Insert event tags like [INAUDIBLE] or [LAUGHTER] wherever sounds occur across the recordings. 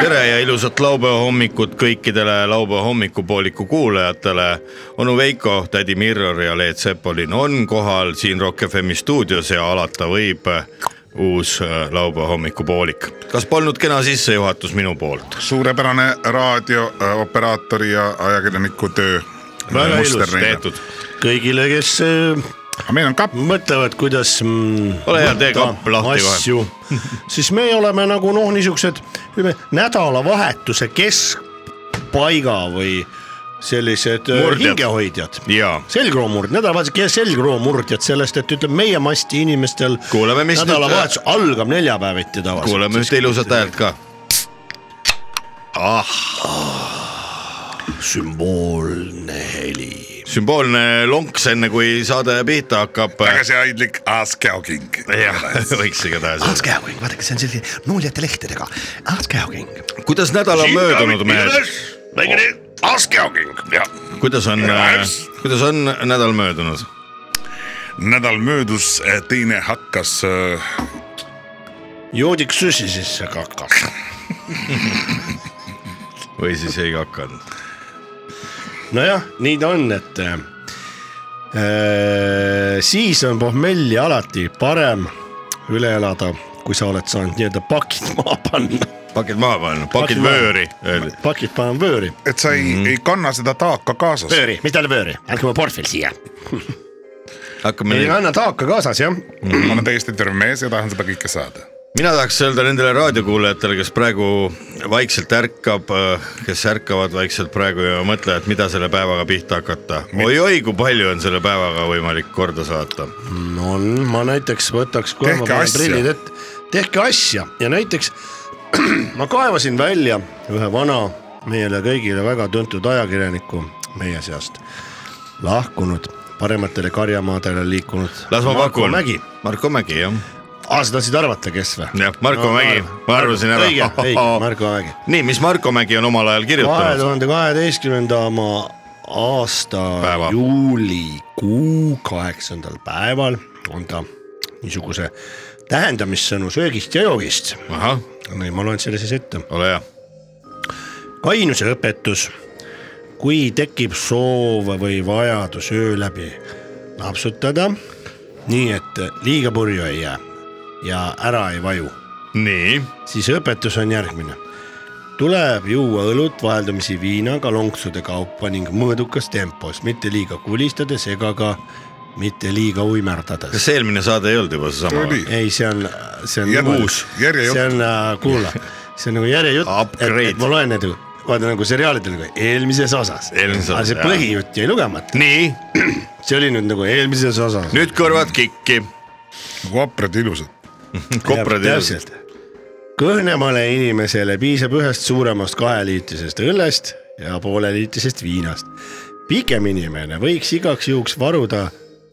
tere ja ilusat laupäeva hommikut kõikidele laupäeva hommikupooliku kuulajatele . onu Veiko , tädi Mirror ja Leet Sepolin on kohal siin Rock FM-i stuudios ja alata võib uus äh, laupäeva hommikupoolik . kas polnud kena sissejuhatus minu poolt ? suurepärane raadiooperaatori ja ajakirjaniku töö . väga ilus tehtud . kõigile , kes äh, aga meil on kapp , mõtlevad , kuidas mm, Ole hea, tee võtta kapp lahti kohe. asju. [LAUGHS] siis meie oleme nagu noh , niisugused ütleme nädalavahetuse keskpaiga või sellised äh, Murdjad. hingehoidjad . jaa , selgroomurd , nädalavahetuse selgroomurdjad sellest , et ütleme , meie masti inimestel Kuuleme, mis nüüd- äh, nädalavahetus nüüd... algab neljapäeviti tavaliselt . kuuleme ühte ilusat häält ka . ah , sümboolne heli . sümboolne lonks , enne kui saade pihta hakkab . tagasihoidlik aaskäoking . jah , võiks igatahes olla . Askäoking , vaadake , see on selline nuljate lehtedega , Ah, Askäoking . kuidas nädal on möödunud , mehed ,? väikene aaskäoking , jah . kuidas on äh, Jaa. , kuidas on nädal möödunud ? nädal möödus , teine hakkas äh, joodik süsi sisse kakas . või siis ei hakanud ? nojah , nii ta on , et äh, siis on pohmelli alati parem üle elada , kui sa oled saanud nii-öelda pakid [LAUGHS] maha panna . pakid maha panna , pakid vööri . pakid panen vööri . et sa ei mm , Mhm. -hmm. ei kanna seda taaka kaasas . vööri , mis tähendab vööri ? andke mu portfell siia . hakkame ei nüüd , anna taaka kaasas jah . ma olen täiesti terve mees ja tahan seda kõike saada . mina tahaks öelda nendele raadiokuulajatele , kes praegu vaikselt ärkab , kes ärkavad vaikselt praegu ja mõtlevad , mida selle päevaga pihta hakata . oi-oi , kui palju on selle päevaga võimalik korda saata . on , ma näiteks võtaks kohe , ma Tehke panen asja. prillid ette , tehke asja ja näiteks [CLEARS THROAT] ma kaevasin välja ühe vana , meile kõigile väga tuntud ajakirjaniku meie seast , lahkunud , parematele karjamaadele liikunud . las ma pakun Mägi ,. Marko Mägi , jah . aa sa tahtsid arvata , kes või ? jah , Marko Mägi , ma arvasin õige , [LAUGHS] õige , ära . Marko Mägi . nii , mis Marko Mägi on omal ajal kahe kirjutanud ? tuhande kaheteistkümnenda oma aasta Päeva. Päeva. juulikuu kaheksandal päeval on ta niisuguse tähendamissõnu söögist ja joogist . ahah , nii , ma loen selle siis ette . ole hea . kainuse õpetus . kui tekib soov või vajadus öö läbi napsutada , nii et liiga purju ei jää ja ära ei vaju nii , siis õpetus on järgmine . tuleb juua õlut vaheldumisi viinaga lonksude kaupa ning mõõdukas tempos , mitte liiga kulistades ega ka mitte liiga uimerdades . kas eelmine saade ei olnud juba seesama ? oli , ei , see on , see on Jär- niimoodi- uus, järjejutt. see on , kuula , see on nagu järjejutt , et, Upgrade. et ma loen need ju , vaata nagu seriaalidel nagu eelmises osas . Eelmises aga osas, see jah. põhijutt jäi lugemata , nii , see oli nüüd nagu eelmises osas . nüüd kõrvad kikki , nagu aprad ja ilusad . koprad ilusad . täpselt . kõhnemale inimesele piisab ühest suuremast kaheliitrisest õllest ja pooleliitrisest viinast . pikem inimene võiks igaks juhuks varuda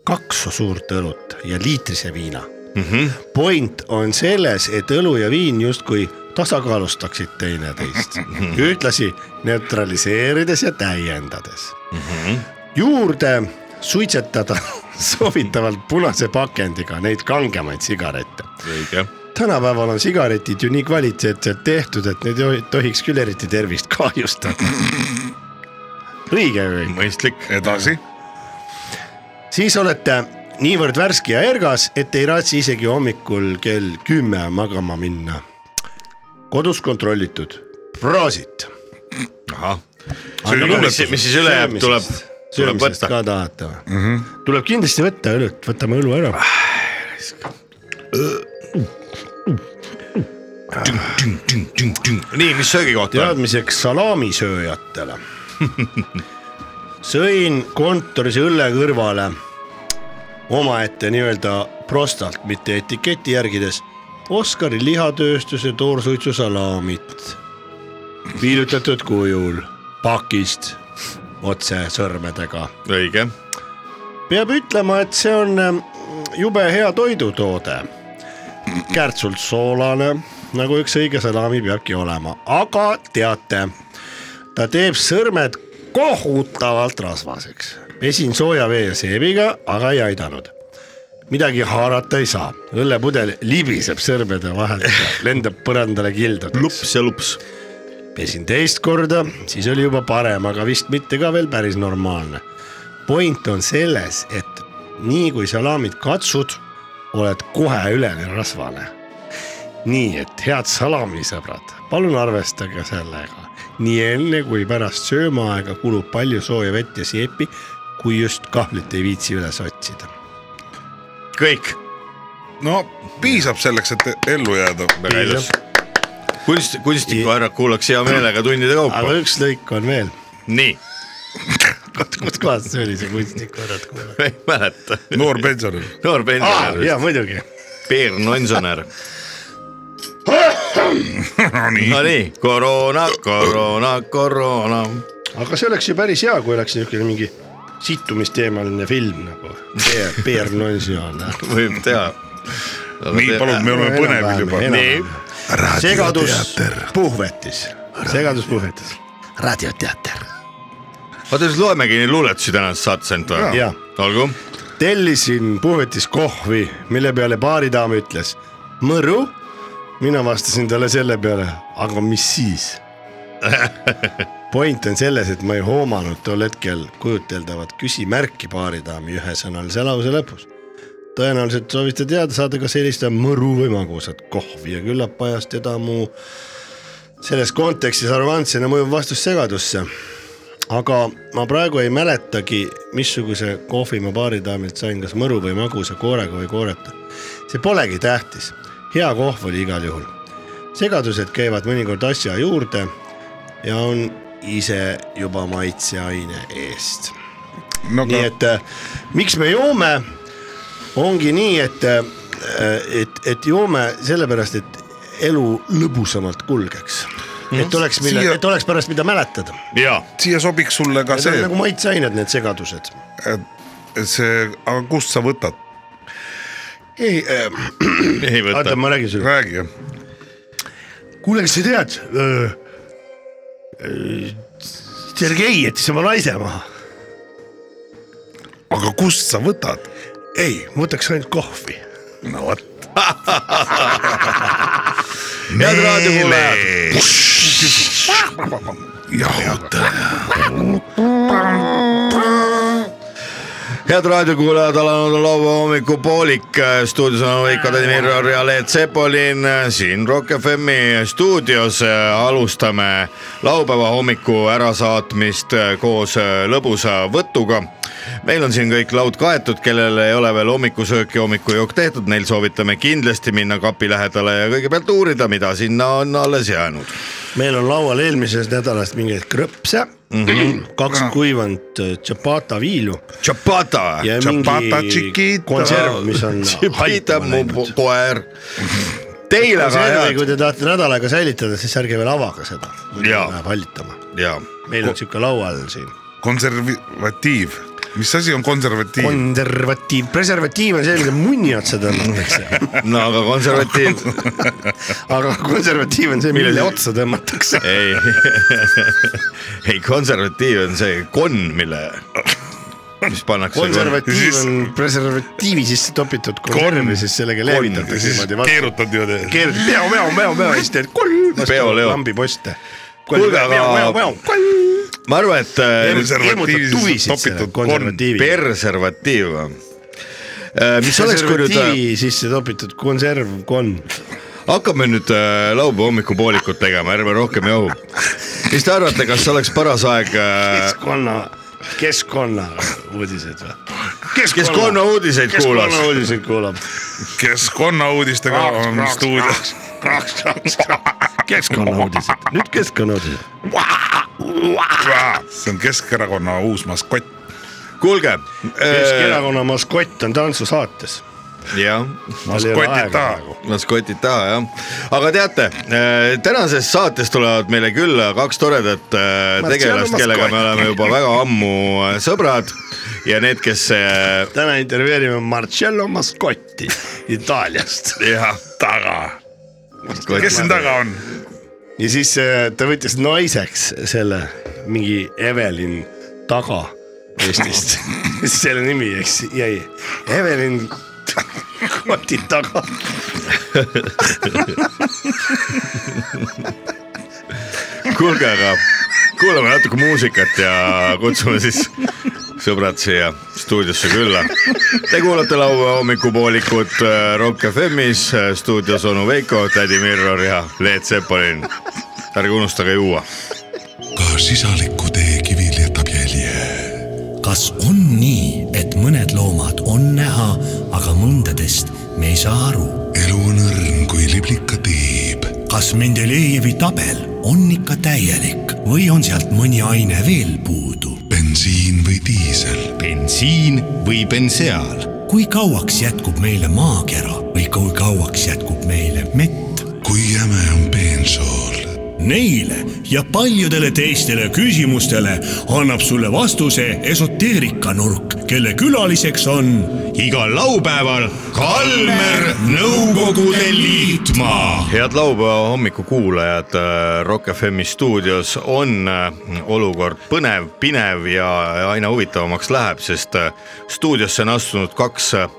kaks suurt õlut ja liitrise viina mm . -hmm. point on selles , et õlu ja viin justkui tasakaalustaksid teineteist , ühtlasi neutraliseerides ja täiendades juurde suitsetada [LAUGHS] soovitavalt punase pakendiga neid kangemaid sigarette . õige , tänapäeval on sigaretid ju nii kvaliteetselt tehtud , et need ei tohiks küll eriti tervist kahjustada . õige või ? mõistlik . edasi , siis olete niivõrd värske ja ergas , et ei raatsi isegi hommikul kell kümme magama minna . kodus kontrollitud , proosit . ahah , see oli mis, luuletus . mis siis üle jääb , tuleb , tuleb söömisest võtta . ka tahate või mm ? -hmm. tuleb kindlasti võtta õlut , võtame õlu ära . nii , mis söögikoht on ? teadmiseks salaamisööjatele sõin kontoris õlle kõrvale omaette nii-öelda prostalt , mitte etiketi järgides , Oskari lihatööstuse toorsuitsusalaamit piilutatud kujul pakist otse sõrmedega õige , peab ütlema , et see on ähm, jube hea toidutoode . kärtsult soolane , nagu üks õige salami peabki olema , aga teate , ta teeb sõrmed kohutavalt rasvaseks . pesin sooja vee ja seebiga , aga ei aidanud . midagi haarata ei saa , õllepudel libiseb sõrmede vahelt , [LAUGHS] lendab põrandale kildudeks . lups ja lups . pesin teist korda , siis oli juba parem , aga vist mitte ka veel päris normaalne . point on selles , et nii kui salamit katsud , oled kohe üleni rasvane . nii et head salamisõbrad , palun arvestage sellega . nii enne kui pärast söömaaega kulub palju sooja vett ja seepi , kui just kahvlit ei viitsi üles otsida . kõik , no piisab selleks , et ellu jääda . väga ilus . kunst , kunstniku ära kuulaks hea meelega tundide kaupa aga . üks lõik on veel , nii , kus kohas see oli , see kunstnik , kurat kuule . [LAUGHS] ma ei mäleta . noor pensionär . noor Ah, pensionär , ja muidugi , Peer Nonsoner . Nonii , Nonii , koroona , koroona , koroona . aga see oleks ju päris hea , kui oleks niisugune mingi situmisteemaline film nagu . Peer Nonsion . võib teha . nii palun , me oleme põnevil juba . Nii. . segadus puhvetis , segadus puhvetis . raadioteater . oota , siis loemegi neid luuletusi tänasest saatest ainult Ah. või Jaa. ? olgu , tellisin puhvetis kohvi , mille peale baaridaam ütles mõru . mina vastasin talle selle peale , aga mis siis ? [LAUGHS] point on selles , et ma ei hoomanud tol hetkel kujuteldavat küsimärki baaridaami ühesõnalise lause lõpus . tõenäoliselt soovite teada saada , kas helista mõru või magusat kohvi ja küllap ajas teda mu selles kontekstis arrogantsena mõjuv vastus segadusse aga ma praegu ei mäletagi , missuguse kohvi ma baaridaamilt sain , kas mõru või magusa koorega või kooreta . see polegi tähtis , hea kohv oli igal juhul . segadused käivad mõnikord asja juurde ja on ise juba maitseaine eest . no nii aga et äh, miks me joome , ongi nii , et , et , et joome sellepärast , et elu lõbusamalt kulgeks . et oleks , Siia- et oleks pärast , mida mäletada jaa , siia sobiks sulle ka Need see... on see , nagu maitseained , need segadused . see , aga kust sa võtad , ei äh, , ei oota , võta . ma räägin sulle . räägi . kuule , kas sa tead äh, ? Sergei jättis oma naise maha . aga kust sa võtad ? ei , ma võtaks ainult kohvi . no vot . head raadiokuulajad , jahutaja . head raadiokuulajad , alanud on laupäeva hommikupoolik , stuudios on Veiko Tõnimiror ja Leet Sepolin siin Rock FM-i stuudios . alustame laupäeva hommiku ärasaatmist koos lõbusa võtuga . meil on siin kõik laud kaetud , kellel ei ole veel hommikusööki , hommikujook tehtud , neil soovitame kindlasti minna kapi lähedale ja kõigepealt uurida , mida sinna on alles jäänud . meil on laual eelmisest nädalast mingeid krõpse mm , -hmm. kaks kuivanud äh, tšapata viilu Chapata . ja Ciabatta mingi chiquita. konserv , mis [LAUGHS] on Chipitab haitama mu läinud . po- koer . Teile ka konservi , head kui te tahate nädal aega säilitada , siis ärge veel avage seda , muidu Jaa. läheb hallitama . ja meil on sihuke laual siin konservatiiv , mis asi on konservatiiv on... ? konservatiiv , preservatiiv on see , mida munni otsa [LAUGHS] tõmmatakse , no aga konservatiiv [LAUGHS] aga konservatiiv on see , mille Millele- otsa tõmmatakse . ei [LAUGHS] ei konservatiiv on see konn , mille , mis pannakse . konservatiiv Siis- on preservatiivi sisse topitud konserv ja siis sellega leevitatakse siis niimoodi vastu . keerutad niimoodi . keerad peo , peo , peo , peo ja siis teed kolm Peoleo. lambiposte . Kuulge, aga- ma arvan , et äh, Konservatiivi sisse topitud konn. konservatiivi . preservatiiv . mis oleks , kui nüüd äh, konservatiivi sisse topitud konserv , konn . hakkame nüüd äh, laupäeva hommikupoolikut tegema , ärme rohkem jahu . mis te arvate , kas oleks paras aeg äh, keskkonna , keskkonna uudised või ? Keskkonnauudiseid kuulas. keskkonnauudiseid kuulab . keskkonnauudistega on stuudios . keskkonnauudised , nüüd keskkonnauudised . see on Keskerakonna uus maskott . kuulge . Äh. Keskerakonna maskott on tantsusaates . jah maskotid taha . las kotid taha jah , aga teate , tänases saates tulevad meile külla kaks toredat äh, Marciano tegelast , kellega me Masconi. oleme juba väga ammu äh, eh, sõbrad ja need , kes äh, täna intervjueerime Marcello Mascotti [LAUGHS] Itaaliast . jah , taga . kes siin taga on ? ja siis äh, ta võttis naiseks selle mingi Evelyn Taga Eestist . selle nimi , eks jäi Evelyn Koti taga . kuulge , aga kuulame natuke muusikat ja kutsume siis sõbrad siia stuudiosse külla . Te kuulate laupäeva hommikupoolikut äh, Rock FM-is , stuudios onu Veiko , tädi Mirror ja Leet Sepolin . ärge unustage juua . ka sisaliku teekivi jätab jälje . kas on nii , et mõned loomad on näha , aga mõndadest me ei saa aru ? elu on õrn kui liblika tiib . kas Mendelejevi tabel on ikka täielik või on sealt mõni aine veel puudu ? bensiin või diisel , bensiin või benseaal , kui kauaks jätkub meile maakera või kui kauaks jätkub meile mett ? kui jäme on peensool , Neile ja paljudele teistele küsimustele annab sulle vastuse esoteerikanurk , kelle külaliseks on igal laupäeval Kalmer Nõukogude Liitmaa . head laupäeva hommikukuulajad , Rock FM-i stuudios on äh, olukord põnev , pinev ja ja aina huvitavamaks läheb , sest äh, stuudiosse on astunud kaks äh,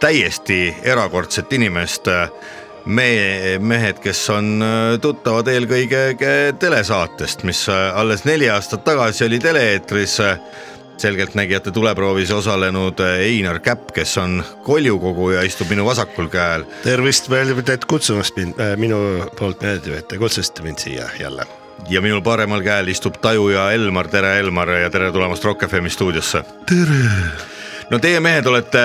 täiesti erakordset inimest . me , mehed , kes on äh, tuttavad eelkõige ke- telesaatest , mis äh, alles neli aastat tagasi oli tele-eetris äh, selgeltnägijate tuleproovis osalenud äh, Einar Käpp , kes on koljukoguja , istub minu vasakul käel tervist , teid kutsumast mind , minu poolt meeldib , et te kutsusite mind siia jälle . ja minul paremal käel istub Tajuja Elmar , tere Elmar ja tere tulemast Rock FM-i stuudiosse . tere . no teie mehed olete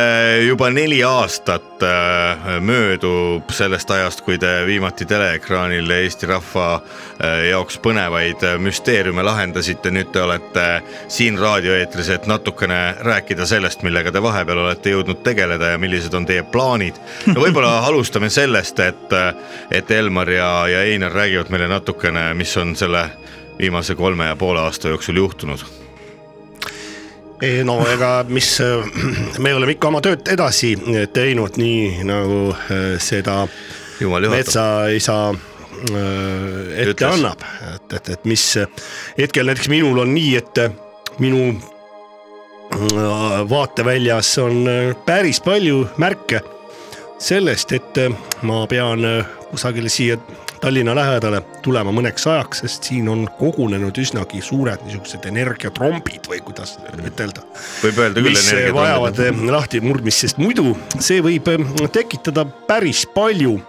juba neli aastat äh, möödub sellest ajast , kui te viimati teleekraanil Eesti rahva äh, jaoks põnevaid äh, müsteeriume lahendasite , nüüd te olete siin raadioeetris , et natukene rääkida sellest , millega te vahepeal olete jõudnud tegeleda ja millised on teie plaanid . no [LAUGHS] võib-olla alustame sellest , et , et Elmar ja , ja Einar räägivad meile natukene , mis on selle viimase kolme ja poole aasta jooksul juhtunud . ei no ega , mis , [CLEARS THROAT] me oleme ikka oma tööd edasi teinud , nii nagu äh, seda jumal juhatab , metsaisa äh, ette Ütles. Ütles. annab , et , et , et mis hetkel näiteks minul on nii , et minu äh, vaateväljas on äh, päris palju märke sellest , et äh, ma pean äh, kusagile siia Tallinna lähedale tulema mõneks ajaks , sest siin on kogunenud üsnagi suured niisugused energiatrombid või kuidas ütelda võib öelda küll . mis eh, vajavad . lahtimurdmist , sest muidu see võib eh, tekitada päris palju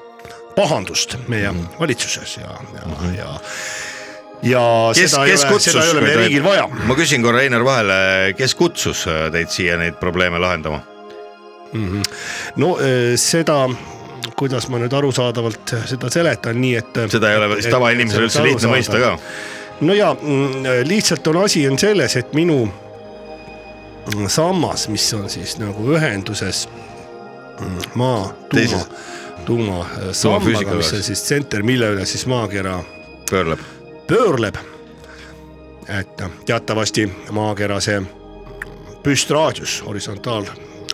pahandust meie Mhm. mm. valitsuses ja , ja mm , -hmm. ja , ja kes , seda ei kes ole , kutsus seda ei ole meie riigil vaja . ma küsin korra Einar vahele , kes kutsus äh, teid siia neid probleeme lahendama ? no eh, seda , kuidas ma nüüd arusaadavalt seda seletan , nii et . seda ei ole vist tavainimesel üldse lihtne mõista ka . no ja mm, lihtsalt on asi on selles , et minu sammas , mis on siis nagu ühenduses mm, maa , tuuma Teises- , tuumasammaga , mis on tuumafüüsikaga. siis tsenter , mille üle siis maakera pöörleb . pöörleb . et äh, teatavasti maakera see püstraadius , horisontaal ,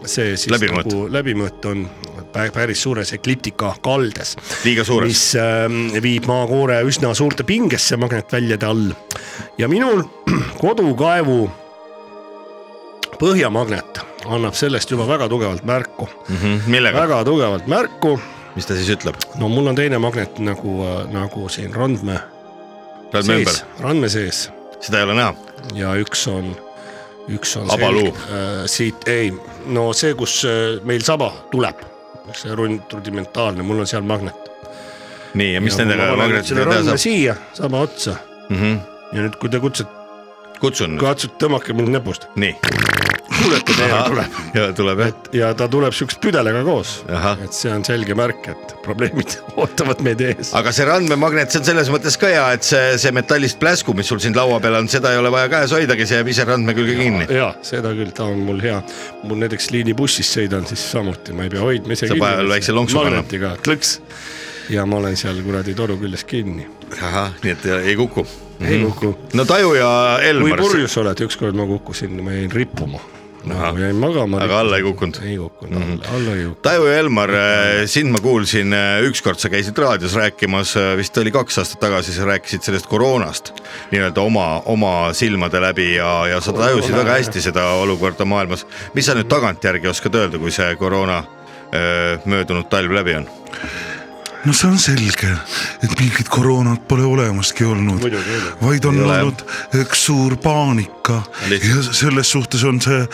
see siis Läbimõõt. nagu läbimõõt on pä- päris suures ekliptika kaldes liiga suureks . mis äh, viib maakoore üsna suurte pingesse magnetväljade all . ja minul [CLEARS THROAT] kodukaevu põhjamagnet annab sellest juba väga tugevalt märku , Mhm. millega , väga tugevalt märku . mis ta siis ütleb ? no mul on teine magnet nagu , nagu siin randme Lähme ümber sees , randme sees seda ei ole näha . ja üks on , üks on . Abaluu. Äh, siit , ei , no see , kus äh, meil saba tuleb , see rund- rudimentaalne , mul on seal magnet . nii , ja mis Ja kui Nagu ma nendega panen selle magnetidega teha ranna saab ? siia sama otsa Mhm. ja nüüd , kui te kutsute , kutsun . katsute , tõmmake mind näpust , nii . kuulete teiega tuleb ja tuleb jah . ja ta tuleb siukse püdelega koos , Ahah. et see on selge märk , et probleemid [LAUGHS] ootavad meid ees . aga see randmemagnet , see on selles mõttes ka hea , et see , see metallist pläsku , mis sul siin laua peal on , seda ei ole vaja käes hoidagi , see jääb ise randme külge kinni . ja seda küll , ta on mul hea , mul näiteks liinibussis sõidan , siis samuti ma ei pea hoidma ise Saab vahel väikse lonksu panna. magnetiga klõks ja ma olen seal kuradi toru küljes kinni , ahah , nii et ei kuku . ei kuku . no Taju ja kui Elmar , purjus oled , ükskord ma kukkusin , ma jäin rippuma nagu jäin magama . aga Mhm. alla ei kukkunud. ei kukkunud mm , -hmm. alla ei kukkunud . Taivo Elmar , sind ma kuulsin , ükskord sa käisid raadios rääkimas , vist oli kaks aastat tagasi , sa rääkisid sellest koroonast nii-öelda oma , oma silmade läbi ja , ja sa tajusid väga hästi seda olukorda maailmas . mis sa nüüd tagantjärgi oskad öelda , kui see koroona öö, möödunud talv läbi on ? no see on selge , et mingit koroonat pole olemaski olnud , vaid on Ei ole, jah. olnud üks suur paanika Lihtsalt. ja selles suhtes on see ,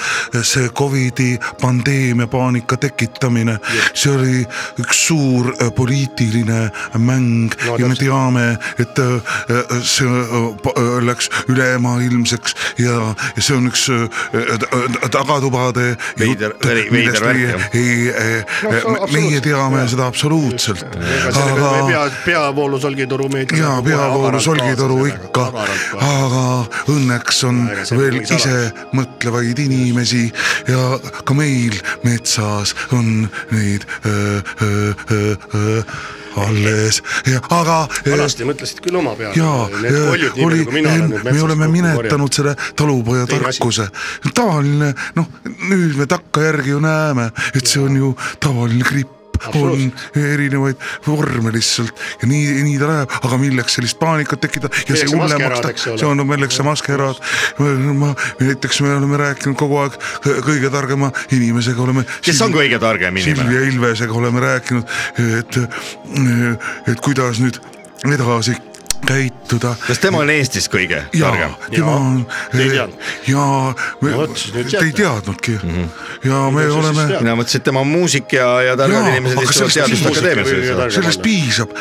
see Covidi pandeemia paanika tekitamine , see oli üks suur äh, poliitiline mäng no, ja me teame , et äh, äh, see äh, pa- äh, läks ülemaailmseks ja , ja see on üks äh, äh, äh, tagatubade Veider- veri- veider millest värk, meie jah. ei , meie teame seda absoluutselt , aga pea , peavoolu solgitoru nagu meedia . ja peavoolu solgitoru ikka , aga õnneks on Ega see veel mingi ise mõtlevaid inimesi ja ka meil metsas on neid öö, öö, öö, öö, alles , aga öö, vanasti mõtlesid küll oma peale . jaa , oli , nagu me oleme minetanud selle talupoja Teine asi. tarkuse . tavaline , noh , nüüd me takkajärgi ju näeme , et see on ju tavaline gripp on erinevaid vorme lihtsalt ja nii , nii ta läheb , aga milleks sellist paanikat tekitada ja see Milleks see hullem maskerad, maksta , eks ole? see on milleks see maskerad . ma , näiteks me oleme rääkinud kogu aeg kõige targema inimesega oleme . kes on kõige targem inimene ? Silvia Ilvesega oleme rääkinud , et , et kuidas nüüd edasi käituda . kas tema on Eestis kõige ja targem ? tema on Te ei teadnud. ja me, No vot, siis nüüd te ei teadnudki mm Mhm. -hmm. ja me te siis oleme teate? mina mõtlesin , et tema on muusik ja , ja targad Jaa, inimesed aga istuvad sellest teaduste muusika kõige akadeemias . targem. sellest piisab ,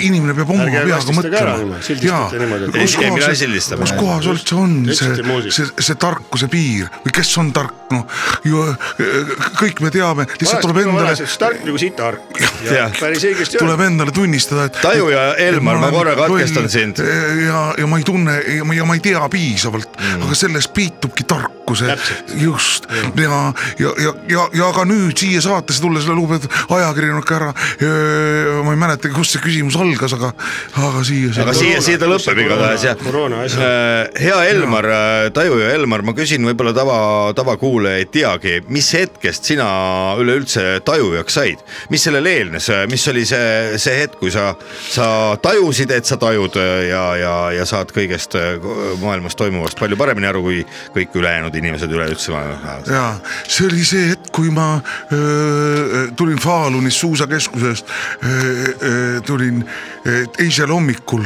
inimene peab oma Ärge peaga vastistage ära mõtlema niimoodi, sildistate niimoodi, et- Ei, kus ei, mina ei kohas , sildista, kus ma- kohas üldse on see Ütlesite muusik. , see , see tarkuse piir või kes on tark , noh ju kõik me teame , lihtsalt tuleb endale vanasti tark nagu sitark ja Jah. päris õigesti tuleb . endale tunnistada , et . Taju ja Elmar, ma korra katkestan sind. . ja , ja ma ei tunne ja ma, ja ma ei tea piisavalt mm. , aga selles peitubki tarkuse , just Mm. ja , ja , ja , ja , ja ka nüüd siia saatesse tulles , lugupeetud ajakirjanik härra , ma ei mäletagi , kust see küsimus algas , aga , aga siia see aga aga... . siia , siia ta Koroona- lõpeb igatahes jah . koroona asi. hea Elmar , Taju ja Elmar , ma küsin , võib-olla tava , tavakuulaja ei teagi , mis hetkest sina üleüldse tajujaks said , mis sellele eelnes , mis oli see , see hetk , kui sa , sa tajusid , et sa tajud äh, ja , ja , ja saad kõigest äh, maailmas toimuvast palju paremini aru kui kõik ülejäänud inimesed üleüldse maailmas . ja see oli see hetk , kui ma öö, tulin Faalunis suusakeskusest , tulin öö, teisel hommikul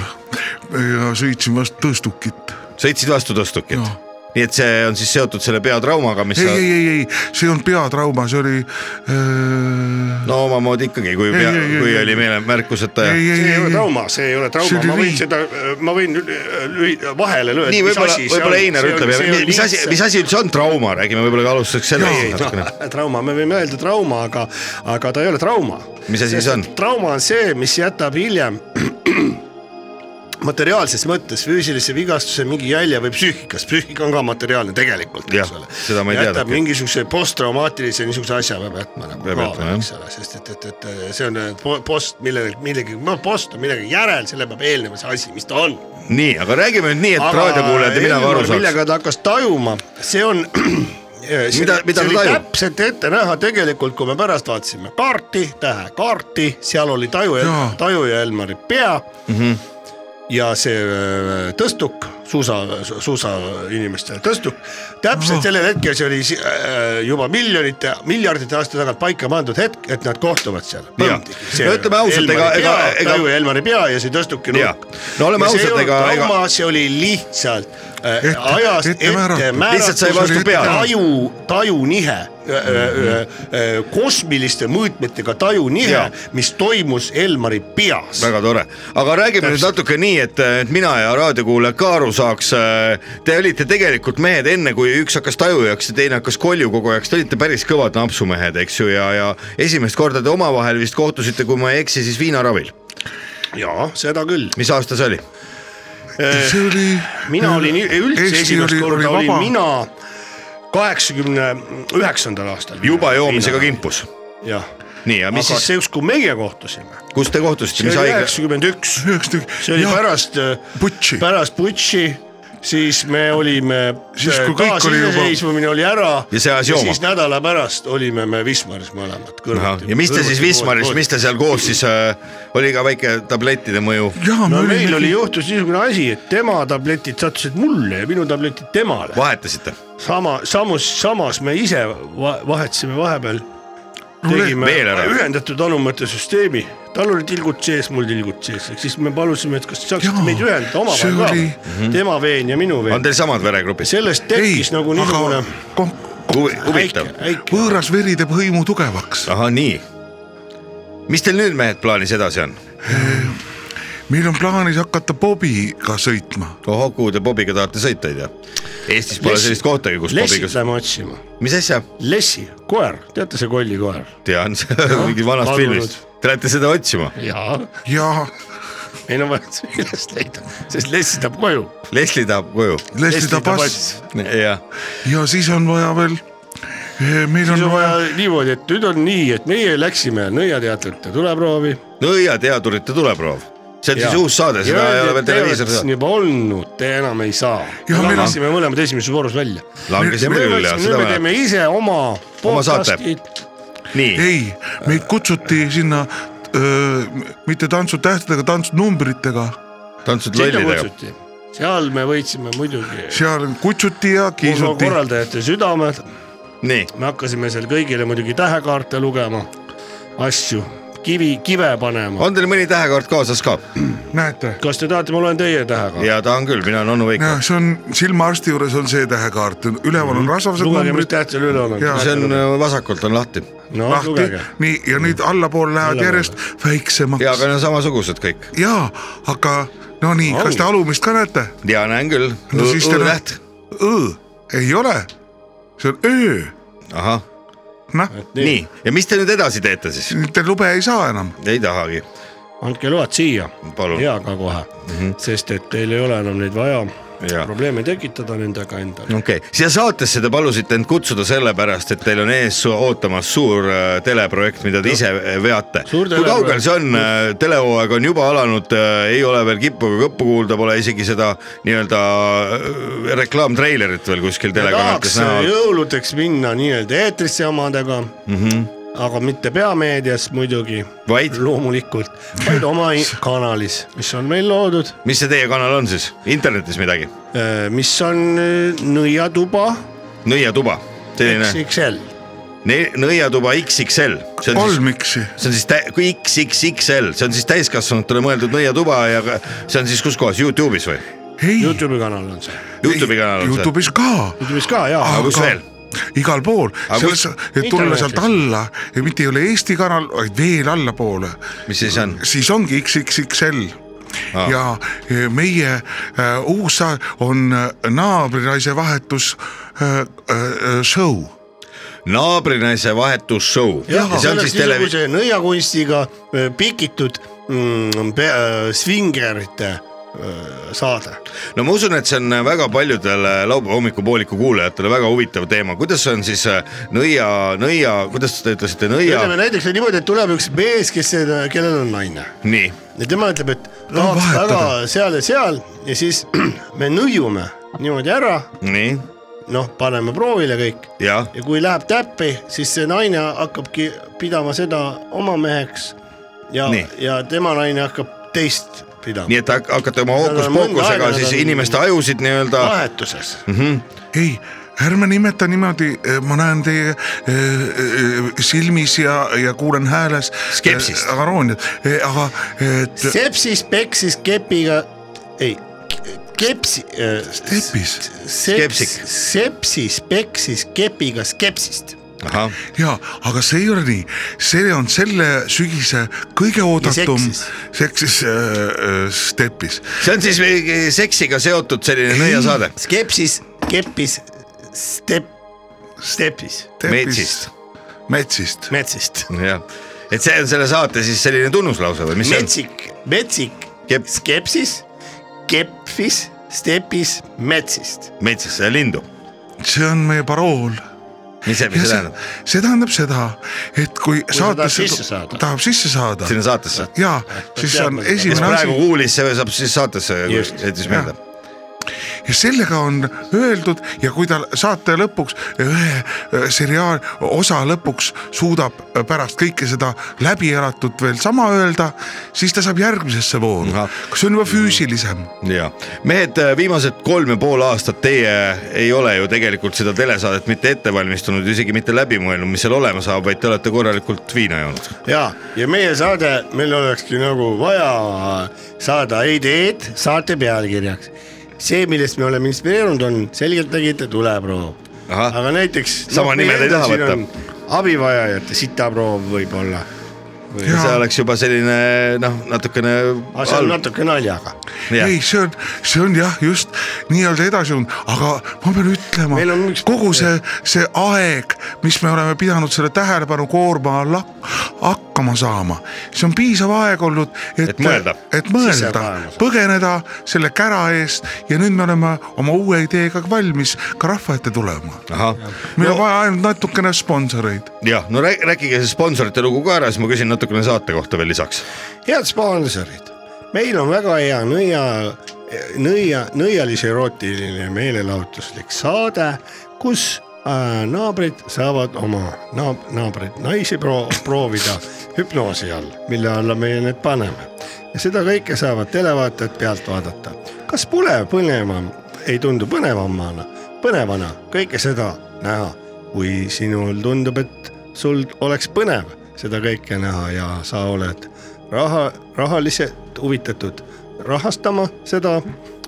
ja sõitsin vast tõstukit sõitsid vastu tõstukit Jah. nii et see on siis seotud selle peatraumaga , mis Noh. ei , sa ei , ei , ei , see ei olnud peatrauma , see oli äh... . no omamoodi ikkagi , kui , ei, ei, kui ei. oli meelemärkuseta ei , see ei ei , ole ei , trauma , see ei ole trauma See , oli ma võin viin. seda , ma võin lüli- lüli- vahele lööda . nii võib-olla , võib-olla Einar ütleb , mis asi , mis asi üldse on trauma , räägime võib-olla ka alustuseks ei , sellest natukene . noh , [LAUGHS] trauma , me võime öelda trauma , aga , aga ta ei ole trauma . Mis asi see on? ? trauma on see , mis jätab hiljem [CLEARS THROAT] materiaalses mõttes füüsilise vigastuse mingi jälje või psüühikas , psüühika on ka materiaalne tegelikult , Jah, eks ole . seda ma ei jätab teadnudki. mingisuguse posttraumaatilise niisuguse asja peab jätma nagu Peab kaasa , jätma, jah. eks ole , sest et , et , et see on eh, po- post , millele , millegi , no post on millegi järel , selle peab eelnema see asi , mis ta on nii , aga räägime nüüd nii , et Aga raadiokuulajad ja mina ka aru Elmar, saaks . millega ta hakkas tajuma , see on . [CLEARS THROAT] Mida- mida ta tajub? täpselt ette näha tegelikult , kui me pärast vaatasime kaarti , tähe kaarti , seal oli taju ja Jaa. taju ja Elmari pea mm . Mhm. -hmm. ja see öö, tõstuk , suusa , suusainimestele tõstuk , täpselt sellel hetkel , see oli si- äh, juba miljonite , miljardite aasta tagant paika pandud hetk , et nad kohtuvad seal . Jaa. No ütleme ausalt, ega- ega- ega- taju ja Elmari pea ja see tõstuki Jaa. nurk . No oleme see ei ausad, olnud ega- ega- trauma , see oli lihtsalt äh, Ette- ajast ette ette määratud. määratud . Lihtsalt sai vastu peale. Mhm. taju , äh, tajunihe mm , -hmm. kosmiliste mõõtmetega tajunihe Jaa. , mis toimus Elmari peas . väga tore , aga räägime nüüd natuke nii , et et mina ja raadiokuulajad ka aru saaks . Te olite tegelikult mehed enne , kui üks hakkas tajujaks ja teine hakkas koljukogujaks , te olite päris kõvad napsumehed , eks ju , ja , ja esimest korda te omavahel vist kohtusite , kui ma ei eksi , siis viinaravil . jaa , seda küll . mis aasta see oli ? see oli . mina olin i- üldse Eesti esimest korda olin vaba. mina kaheksakümne üheksandal aastal . juba joomisega . kimpus . jah , nii , ja aga mis siis siis , see üks , kui meie kohtusime , kus te kohtusite , see mis oli haigla ? üheksakümmend üks üheks tükk . see oli äh, pärast , putši. pärast putši , siis me olime . Siis, kui kõik oli juba- iseseisvumine oli ära . Ja see ajas jooma. siis nädala pärast olime me Wismaris mõlemad kõrvuti . ja mis te siis Wismaris , mis te seal koos siis äh, , oli ka väike tablettide mõju ? jaa , me no meil olime oli , juhtus niisugune asi , et tema tabletid sattusid mulle ja minu tabletid temale . vahetasite ? sama , samus , samas me ise va- vahetasime vahepeal . tegime veel ära. ühendatud anumate süsteemi , tal oli tilgud sees , mul tilgud sees , ehk siis me palusime , et kas te saaksite Jaa, meid ühendada see omavahel oli- ka , tema veen ja minu on veen . teil samad veregrupid ? sellest ei tekkis , nagu niisugune aga kom- Huvi- , väike huvitav ,. väike , võõras veri teeb hõimu tugevaks . ahah , nii . mis teil nüüd , mehed , plaanis edasi on ? meil on plaanis hakata Bobiga sõitma . ohoh , kuhu te Bobiga tahate sõita , ei tea ? Eestis pole Lessi- sellist kohtagi , kus Bobiga lessit , lähme otsima . mis asja ? Lessi , koer , teate see kollikoer ? tean , [LAUGHS] mingi vanast kadunud. filmist . Te lähete seda otsima ? jaa , ja meil on vaja see üles leida , sest Lessi tahab koju . Leslie tahab koju . Leslie Tabass jah , ja siis on vaja veel , meil siis on on vaja , vaja niimoodi , et nüüd on nii , et meie läksime nõiateatrite tuleproovi . nõiateadurite tuleproov . see on siis uus saade , seda ei ole veel televiisoris . juba olnud , te enam ei saa . Ja me meil on- lasime mõlemad esimeses voorus välja . langesime küll jah , nüüd seda me vaja . teeme ise oma saate. podcast'i , nii , ei , meid kutsuti sinna öö, mitte tantsutähtedega , tantsunumbritega , tantsud sinna lollidega . kutsuti . seal me võitsime muidugi seal kutsuti ja Urvo kiisuti . korraldajate südamed , nii , me hakkasime seal kõigile muidugi tähekaarte lugema , asju , kivi , kive panema . on teil mõni tähekaart kaasas ka ? näete , kas te tahate , ma loen teie tähekaart ? ja tahan küll , mina olen onu Veiko . see on silmaarsti juures on see tähekaart , üleval Mhm. on rasvased lugege , mis numbrid täht seal üle on . Jaa, see on äh, vasakult on lahti no lahti lugege ., nii ja nüüd allapoole lähevad Allapoole. järjest väiksemaks ja , aga need on samasugused kõik . ja aga no nii , kas te alumist ka näete ? ja näen küll . no siis teil on õõtäht , õ , ei ole , see on öö , ahah , noh , nii ja mis te nüüd edasi teete siis ? te lube ei saa enam . ei tahagi , andke load siia palun . ja ka kohe mm , -hmm. sest et teil ei ole enam neid vaja Jaa. probleeme tekitada nendega endale . okei okay. , siia saatesse te palusite end kutsuda sellepärast , et teil on ees su- ootamas suur äh, teleprojekt , mida te ise äh, veate . Suur kui kaugel teleprojekt. see on , telehooaeg on juba alanud , ei ole veel kippu ega kõppu kuulda , pole isegi seda nii-öelda äh, reklaamtreilerit veel kuskil tahaks telekanalites näha olnud . jõuludeks minna nii-öelda eetrisse omadega mm , -hmm. aga mitte peameedias muidugi , vaid , loomulikult , vaid oma i- kanalis , mis on meil loodud , mis see teie kanal on siis , internetis midagi ? mis on eh, Nõiatuba nõiatuba , selline XXL . ne- nõiatuba XXL , see on siis kolm iksi , see on siis tä- , kui XXXL , see on siis täiskasvanutele mõeldud nõiatuba ja ka- see on siis kus kohas , Youtube'is või ? ei , Youtube'i kanal on see , Youtube'i kanal on see ? Youtube'is ka , Youtube'is ka jaa Aga . kus veel? ? igal pool , Aga kus- selles , et tulla sealt alla ja mitte ei ole Eesti kanal , vaid veel allapoole , mis siis on ? siis ongi XXXL Aa. ja eh, meie äh, uus saa- on äh, naabrinaise vahetus äh, äh, show , naabrinaise vahetus show . jah , see on selles siis televi- , niisuguse nõiakunstiga eh, pikitud mm, pe- eh, svingerite eh, saade no ma usun , et see on väga paljudele laupäeva hommikupooliku kuulajatele väga huvitav teema , kuidas on siis äh, nõia , nõia , kuidas te ütlesite , nõia , ütleme näiteks niimoodi , et tuleb üks mees , kes , kellel on naine nii , ja tema ütleb , et tahaks väga vahetada. seal ja seal ja siis [CLEARS THROAT] me nõiume niimoodi ära , nii , noh , paneme proovile kõik jah , ja kui läheb täppi , siis see naine hakkabki pidama seda oma meheks ja Nii. , ja tema naine hakkab teist pidama nii et hak- hakkate oma Nad on mõnda hookus-pookusega aega, siis nad on- inimeste ajusid nii-öelda , vahetuses . Mm. ei ärme nimeta niimoodi , ma näen teie eh, eh, silmis ja , ja kuulen hääles . e, Skepsist. arooniat , E, aga et sepsis peksis kepiga , ei , kepsi äh, , tepis Skepsik. seps, sepsis peksis kepiga skepsist ahah , ja , aga see ei ole nii , see on selle sügise kõige oodatum seksis. seksis äh, stepis . see on siis mingi seksiga seotud selline nõiasaade , skepsis , keppis , step , stepis , metsist , metsist , metsist . jah , et see on selle saate siis selline tunnuslause või mis Mm. see on ? metsik , metsik , Kepp , skepsis , keppis , stepis , metsist . metsist , lindu , see on meie parool . mis see , mis see tähendab ? see tähendab seda , et kui, kui tahad saatesse sisse saada. tahab sisse saada sinna saatesse . ja siis peab on seda- kes esimene praegu asi kuulis , see saab siis saatesse , Just. jättis meelde . ja sellega on öeldud ja kui ta saate lõpuks ühe äh, seriaal osa lõpuks suudab äh, pärast kõike seda läbi elatut veel sama öelda , siis ta saab järgmisesse vooru Ahah. , kus on juba füüsilisem . ja mehed , viimased kolm ja pool aastat teie ei ole ju tegelikult seda telesaadet mitte ette valmistunud , isegi mitte läbi mõelnud , mis seal olema saab , vaid te olete korralikult viina joonud . ja , Ah, ja meie saade , meil olekski nagu vaja saada ideed saate pealkirjaks . see , millest me oleme inspireerunud , on selgeltnägijate tuleproov . Ahah. aga näiteks . noh, Sama nime ta ei taha võtta. . abivajajate sitaproov võib-olla . Jaa. see oleks juba selline noh , natukene aga see on halb. natuke naljaga . Jah. ei , see on , see on jah , just nii-öelda edasi olnud , aga ma pean ütlema Meil on üks- , kogu see , see aeg , mis me oleme pidanud selle tähelepanu koorma all hak- hakkama saama , see on piisav aeg olnud , et Et mõelda. et mõelda Sisepääs. , põgeneda selle kära eest ja nüüd me oleme oma uue ideega valmis ka rahva ette tulema . ahah , meil on vaja ainult natukene sponsoreid . jah , no rää- rääkige see sponsorite lugu ka ära , siis ma küsin natukene saate kohta veel lisaks . head sponsorid , meil on väga hea nõia , nõia , nõialis-erootiline meelelahutuslik saade , kus äh, naabrid saavad oma naab- , naabreid naisi pro proovida hüpnoosi all , mille alla meie need paneme . ja seda kõike saavad televaatajad pealt vaadata . kas pole põnevam , ei tundu põnevamana , põnevana kõike seda näha , kui sinul tundub , et sul oleks põnev seda kõike näha ja sa oled raha , rahaliselt huvitatud rahastama seda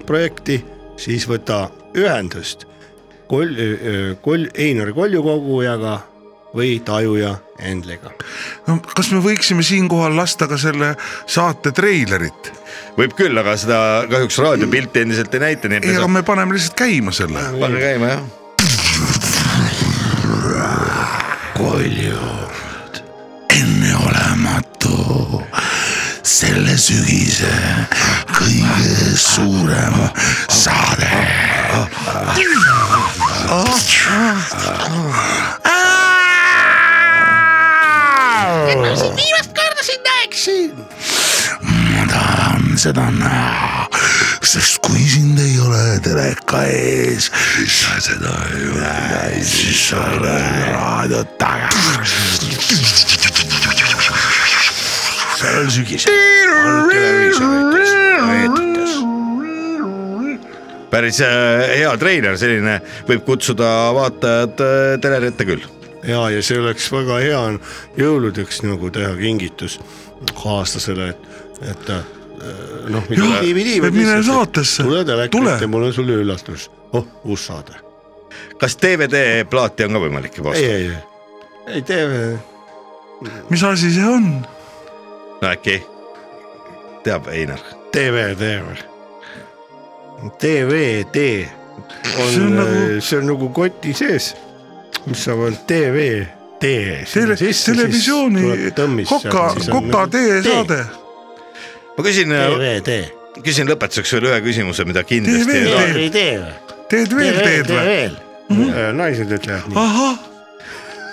projekti , siis võta ühendust Kol- , Kol- , Einar Koljukogujaga või Tajuja Endliga . no kas me võiksime siinkohal lasta ka selle saate treilerit ? võib küll , aga seda kahjuks raadiopilti endiselt ei näita , nii et ei , me aga saame me paneme lihtsalt käima selle . panna käima jah . enneolematu , selle sügise kõige suurem saade . et ma sind viimast korda siin näeksin . ma tahan seda näha , sest kui sind ei ole teleka ees , siis sa seda ei näe , siis sa oled raadio taga . sellel sügisel on televiisorites näidates . päris äh, hea treiler , selline võib kutsuda vaatajad äh, teleri ette küll . ja , ja see oleks väga hea jõuludeks nagu teha kingitus kaaslasele , et , et äh, noh . DVD või mine saatesse. tule telekat Tule. ja mul on sulle üllatus . oh , uus saade . kas DVD-plaati on ka võimalik juba ei , osta ? ei , ei , ei tee mis asi see on ? no äkki teab Einar . TV , TV . DVD on , See see on on nagu- nagu, see on nagu koti sees , mis saab ainult TV . Tee tele , televisiooni Koka , nagu Koka tee saade . ma küsin , DVD . küsin lõpetuseks veel ühe küsimuse , mida kindlasti ei DVD. saa . ei tee või ? teed veel teed või ?? Mhm. Äh, Ah. naised ütlevad nii . ahah ,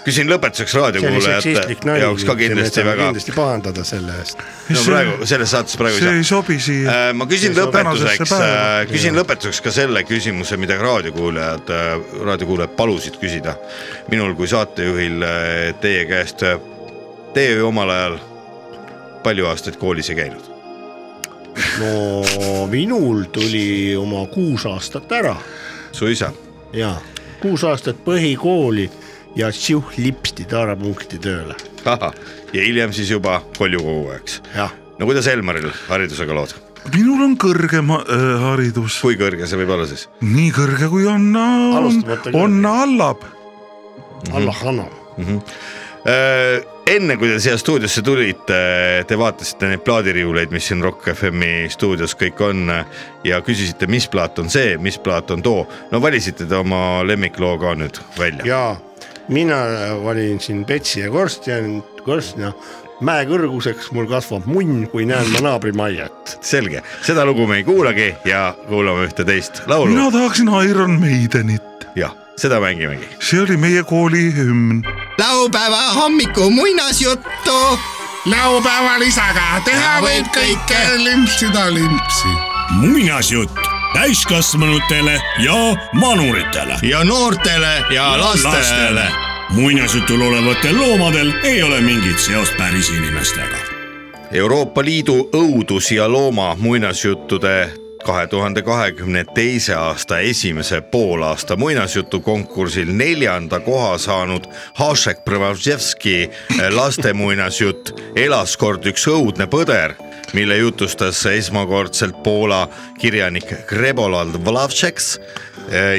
küsin lõpetuseks see oli raadiokuulajate seksistlik nali . jaoks ka kindlasti väga , kindlasti pahandada selle eest . no See- praegu selles saates praegu ei see saa ei sobi siia . Äh, ma küsin See on lõpetuseks äh, tänasesse , päeva. küsin lõpetuseks ka selle küsimuse , mida raadiokuulajad , raadiokuulajad palusid küsida minul kui saatejuhil äh, teie käest . Teie ju omal ajal palju aastaid koolis ei käinud , no minul tuli oma kuus aastat ära su isa , ja kuus aastat põhikooli ja siuh lipsti taarapunkti tööle . ja hiljem siis juba Koljukogu , eks . jah , no kuidas Elmaril haridusega lood , minul on kõrgem äh, haridus , kui kõrge see võib olla siis ? nii kõrge kui Anna on Alustamata , kõrge. Anna allab . Allah annab . Äh, enne kui te siia stuudiosse tulite , te vaatasite neid plaadiriiuleid , mis siin Rock FM-i stuudios kõik on ja küsisite , mis plaat on see , mis plaat on too . no valisite te oma lemmikloo ka nüüd välja . ja mina valin siin Betsi ja Korstjan , Korstjan , mäekõrguseks mul kasvab munn , kui näen ma naabrimaiet . selge , seda lugu me ei kuulagi ja kuulame ühte teist laulu mina tahaksin Iron Maidenit , ja seda mängimegi . see oli meie kooli hümn . laupäeva hommiku muinasjuttu laupäeval isaga teha võib kõike limpsida limpsi . muinasjutt täiskasvanutele ja vanuritele . ja noortele ja lastele . muinasjutul olevatel loomadel ei ole mingit seost päris inimestega . Euroopa Liidu õudus ja looma muinasjuttude kahe tuhande kahekümne teise aasta esimese poolaasta muinasjutukonkursil neljanda koha saanud Hašek Prvavševski laste muinasjutt Elas kord üks õudne põder , mille jutustas esmakordselt Poola kirjanik Grebolald Vlavšeks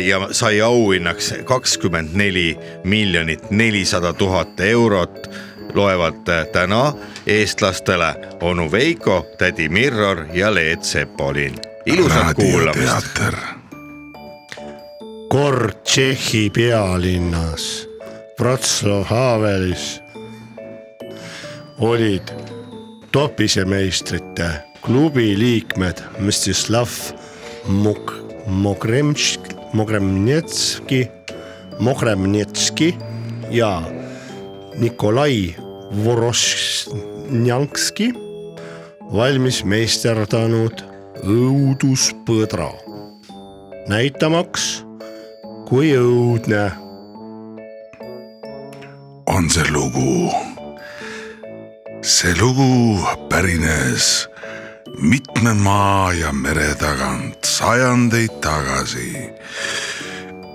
ja sai auhinnaks kakskümmend neli miljonit nelisada tuhat eurot loevad eh, täna eestlastele onu Veiko , tädi Mirror ja Leet Sepolin . ilusat kuulamist . raadioteater . kord Tšehhi pealinnas Wroclaw Havelis olid topisemeistrite klubi liikmed Mstislav Mok- , Mogremš- , Mogremnetski , Mogremnetski ja Nikolai Vorosnjanski valmis meisterdanud õuduspõdra , näitamaks kui õudne . on see lugu . see lugu pärines mitme maa ja mere tagant sajandeid tagasi .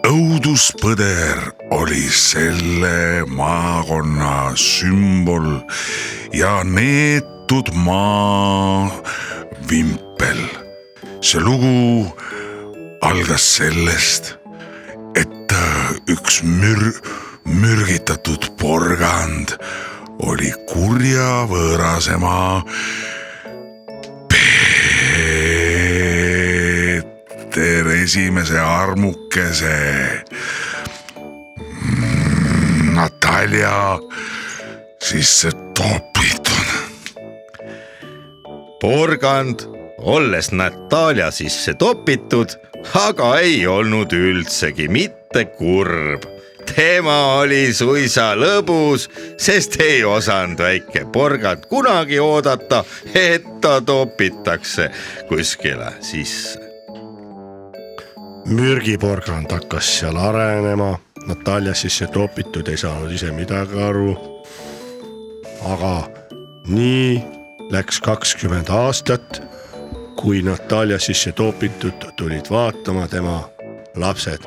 õuduspõder oli selle maakonna sümbol ja neetud maa vimpel . see lugu algas sellest et äh, üks mür- , mürgitatud porgand oli kurja võõrasema Peeter esimese armukese Natalja sisse topitud . porgand , olles Natalja sisse topitud , aga ei olnud üldsegi mitte kurb . tema oli suisa lõbus , sest ei osanud väike porgand kunagi oodata , et ta topitakse kuskile sisse . mürgiporgand hakkas seal arenema , Natalja sisse topitud , ei saanud ise midagi aru . aga nii läks kakskümmend aastat , kui Natalja sisse topitud tulid vaatama tema lapsed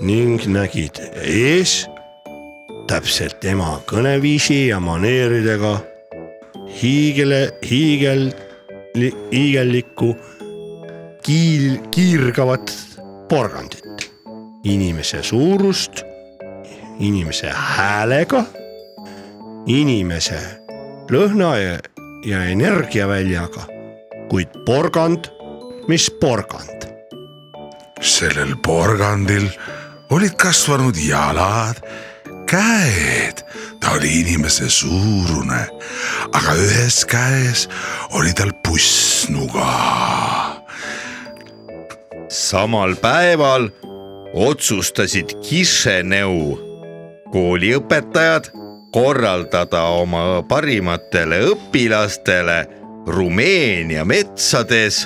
ning nägid ees täpselt tema kõneviisi ja maneeridega hiigele , hiigel , hiigellikku kiil , kiirgavat porgandit , inimese suurust , inimese häälega , inimese lõhna ja, ja energiaväljaga , kuid porgand , mis porgand , sellel porgandil olid kasvanud jalad , käed , ta oli inimese suurune , aga ühes käes oli tal pussnuga . samal päeval otsustasid Kišeneu kooliõpetajad korraldada oma parimatele õpilastele Rumeenia metsades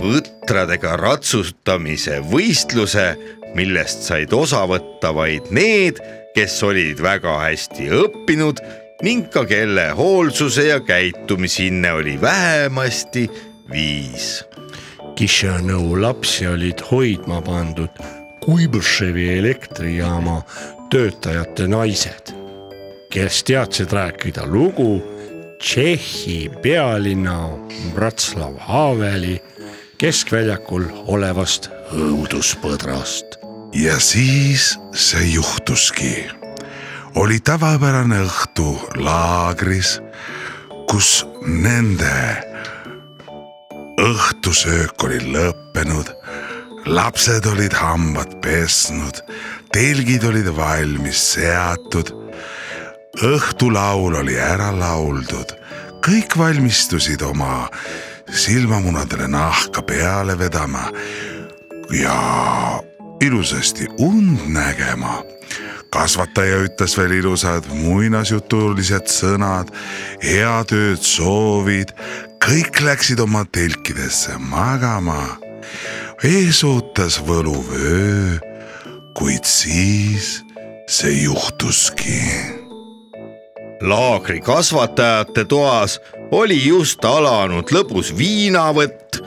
põtradega ratsutamise võistluse , millest said osa võtta vaid need , kes olid väga hästi õppinud ning ka kelle hoolsuse ja käitumishinne oli vähemasti viis Kišenõu lapsi olid hoidma pandud Kuibõševi elektrijaama töötajate naised , kes teadsid rääkida lugu Tšehhi pealinna Bratslav Haveli keskväljakul olevast õuduspõdrast . ja siis see juhtuski . oli tavapärane õhtu laagris , kus nende õhtusöök oli lõppenud , lapsed olid hambad pesnud , telgid olid valmis seatud , õhtulaul oli ära lauldud , kõik valmistusid oma silmamunadele nahka peale vedama ja ilusasti und nägema . kasvataja ütles veel ilusad muinasjutulised sõnad , head ööd soovid , kõik läksid oma telkidesse magama ees ootas võluv öö , kuid siis see juhtuski . laagri kasvatajate toas oli just alanud lõbus viinavõtt ,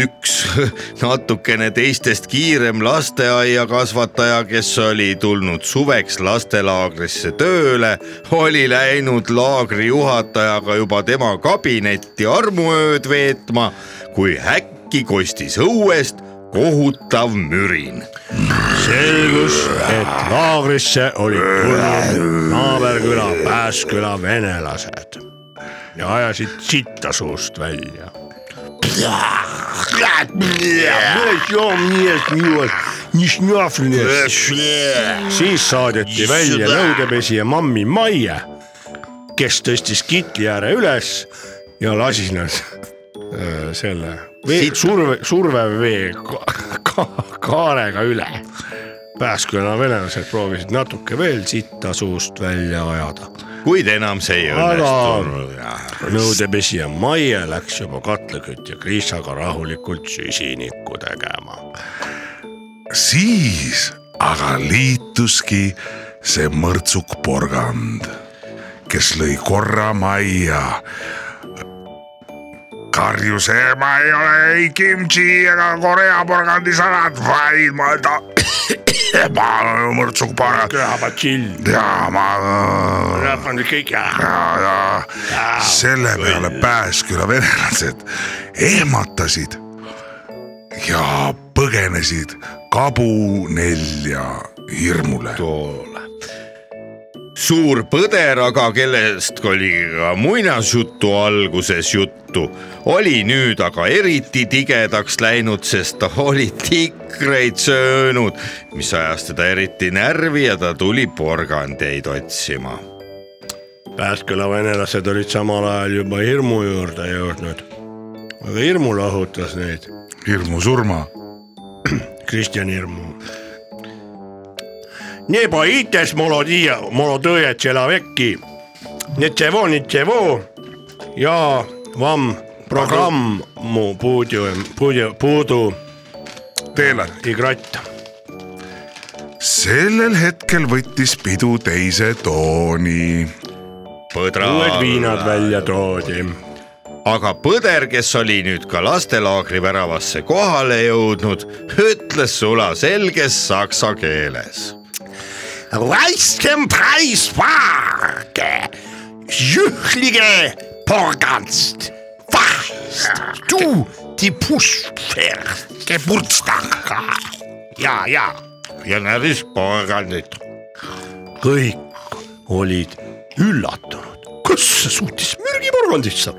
üks [LAUGHS] natukene teistest kiirem lasteaiakasvataja , kes oli tulnud suveks lastelaagrisse tööle , oli läinud laagri juhatajaga juba tema kabinetti armuööd veetma , kui äkki kostis õuest kohutav mürin . selgus , et laagrisse olid tulnud naaberküla Pääsküla venelased ja ajasid sitta suust välja . siis saadeti välja nõudepesija mammi Maie , kes tõstis kitli ääre üles ja lasi nad äh, selle vee, surve , survevee ka, ka, kaarega üle . Pääsküla venelased proovisid natuke veel sitta suust välja ajada , kuid enam see ei õnnestunud . nõudepesija Maie läks juba katlakütja Kriisaga rahulikult süsinikku tegema . siis aga liituski see mõrtsuk porgand , kes lõi korra majja . karjus , ma ei ole ei kimchi ega Korea porgandi salat , vaid ma ta , ma olen mõrtsuk porgand ja ma ja , ja selle peale Pääsküla venelased ehmatasid ja põgenesid kabu nelja hirmule . suur põder , aga kellest oli ka muinasjutu alguses juttu , oli nüüd aga eriti tigedaks läinud , sest ta oli tikreid söönud , mis ajas teda eriti närvi ja ta tuli porgandeid otsima . Pääsküla venelased olid samal ajal juba hirmu juurde jõudnud . aga hirmu lahutas neid hirmu surma . Kristjan Hirmu . Ne boites molodija , molodõje tšelaveki , netševo , netševo ja vam programm mu puudu , puudu , puudu teele . igratt . sellel hetkel võttis pidu teise tooni . põdra , uued viinad välja toodi . aga põder , kes oli nüüd ka lastelaagri väravasse kohale jõudnud , ütles sulaselges saksa keeles Reiskem Preiswaage , jühlige Porganst , vahest du die Puschpferd , Geburtstag . ja , ja ja näris porgandit kõik olid üllatunud , kus see suutis mürgiporgandisse .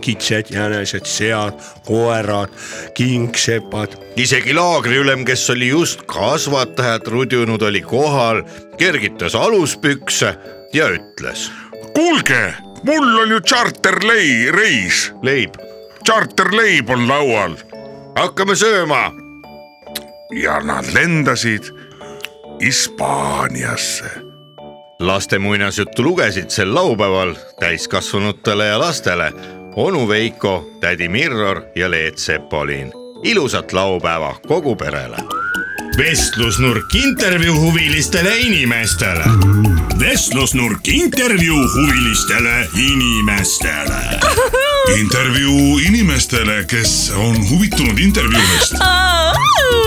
kitsed , jänesed , sead , koerad , kingsepad , isegi laagriülem , kes oli just kasvatajat rudjunud , oli kohal , kergitas aluspükse ja ütles . kuulge , mul on ju tšarterlei reis , leib , tšarterleib on laual hakkame sööma . ja nad lendasid Hispaaniasse laste muinasjuttu lugesid sel laupäeval täiskasvanutele ja lastele onu Veiko , tädi Mirror ja Leet Sepolin . ilusat laupäeva kogu perele . vestlusnurk intervjuu huvilistele inimestele . vestlusnurk intervjuu huvilistele inimestele . intervjuu inimestele , kes on huvitunud intervjuudest .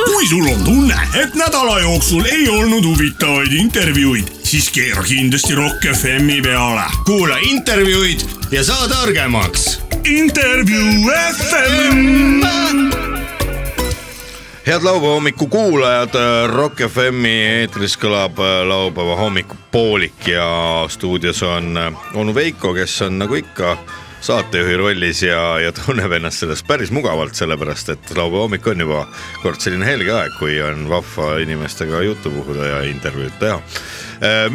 kui sul on tunne , et nädala jooksul ei olnud huvitavaid intervjuuid , siis keera kindlasti Rock FM-i peale . kuula intervjuud ja saa targemaks intervjuu FM . head laupäeva hommiku kuulajad , Rock FM-i eetris kõlab äh, laupäeva hommikupoolik ja stuudios on äh, onu Veiko , kes on nagu ikka saatejuhi rollis ja , ja tunneb ennast sellest päris mugavalt , sellepärast et laupäeva hommik on juba kord selline helge aeg , kui on vahva inimestega juttu puhuda ja intervjuud teha .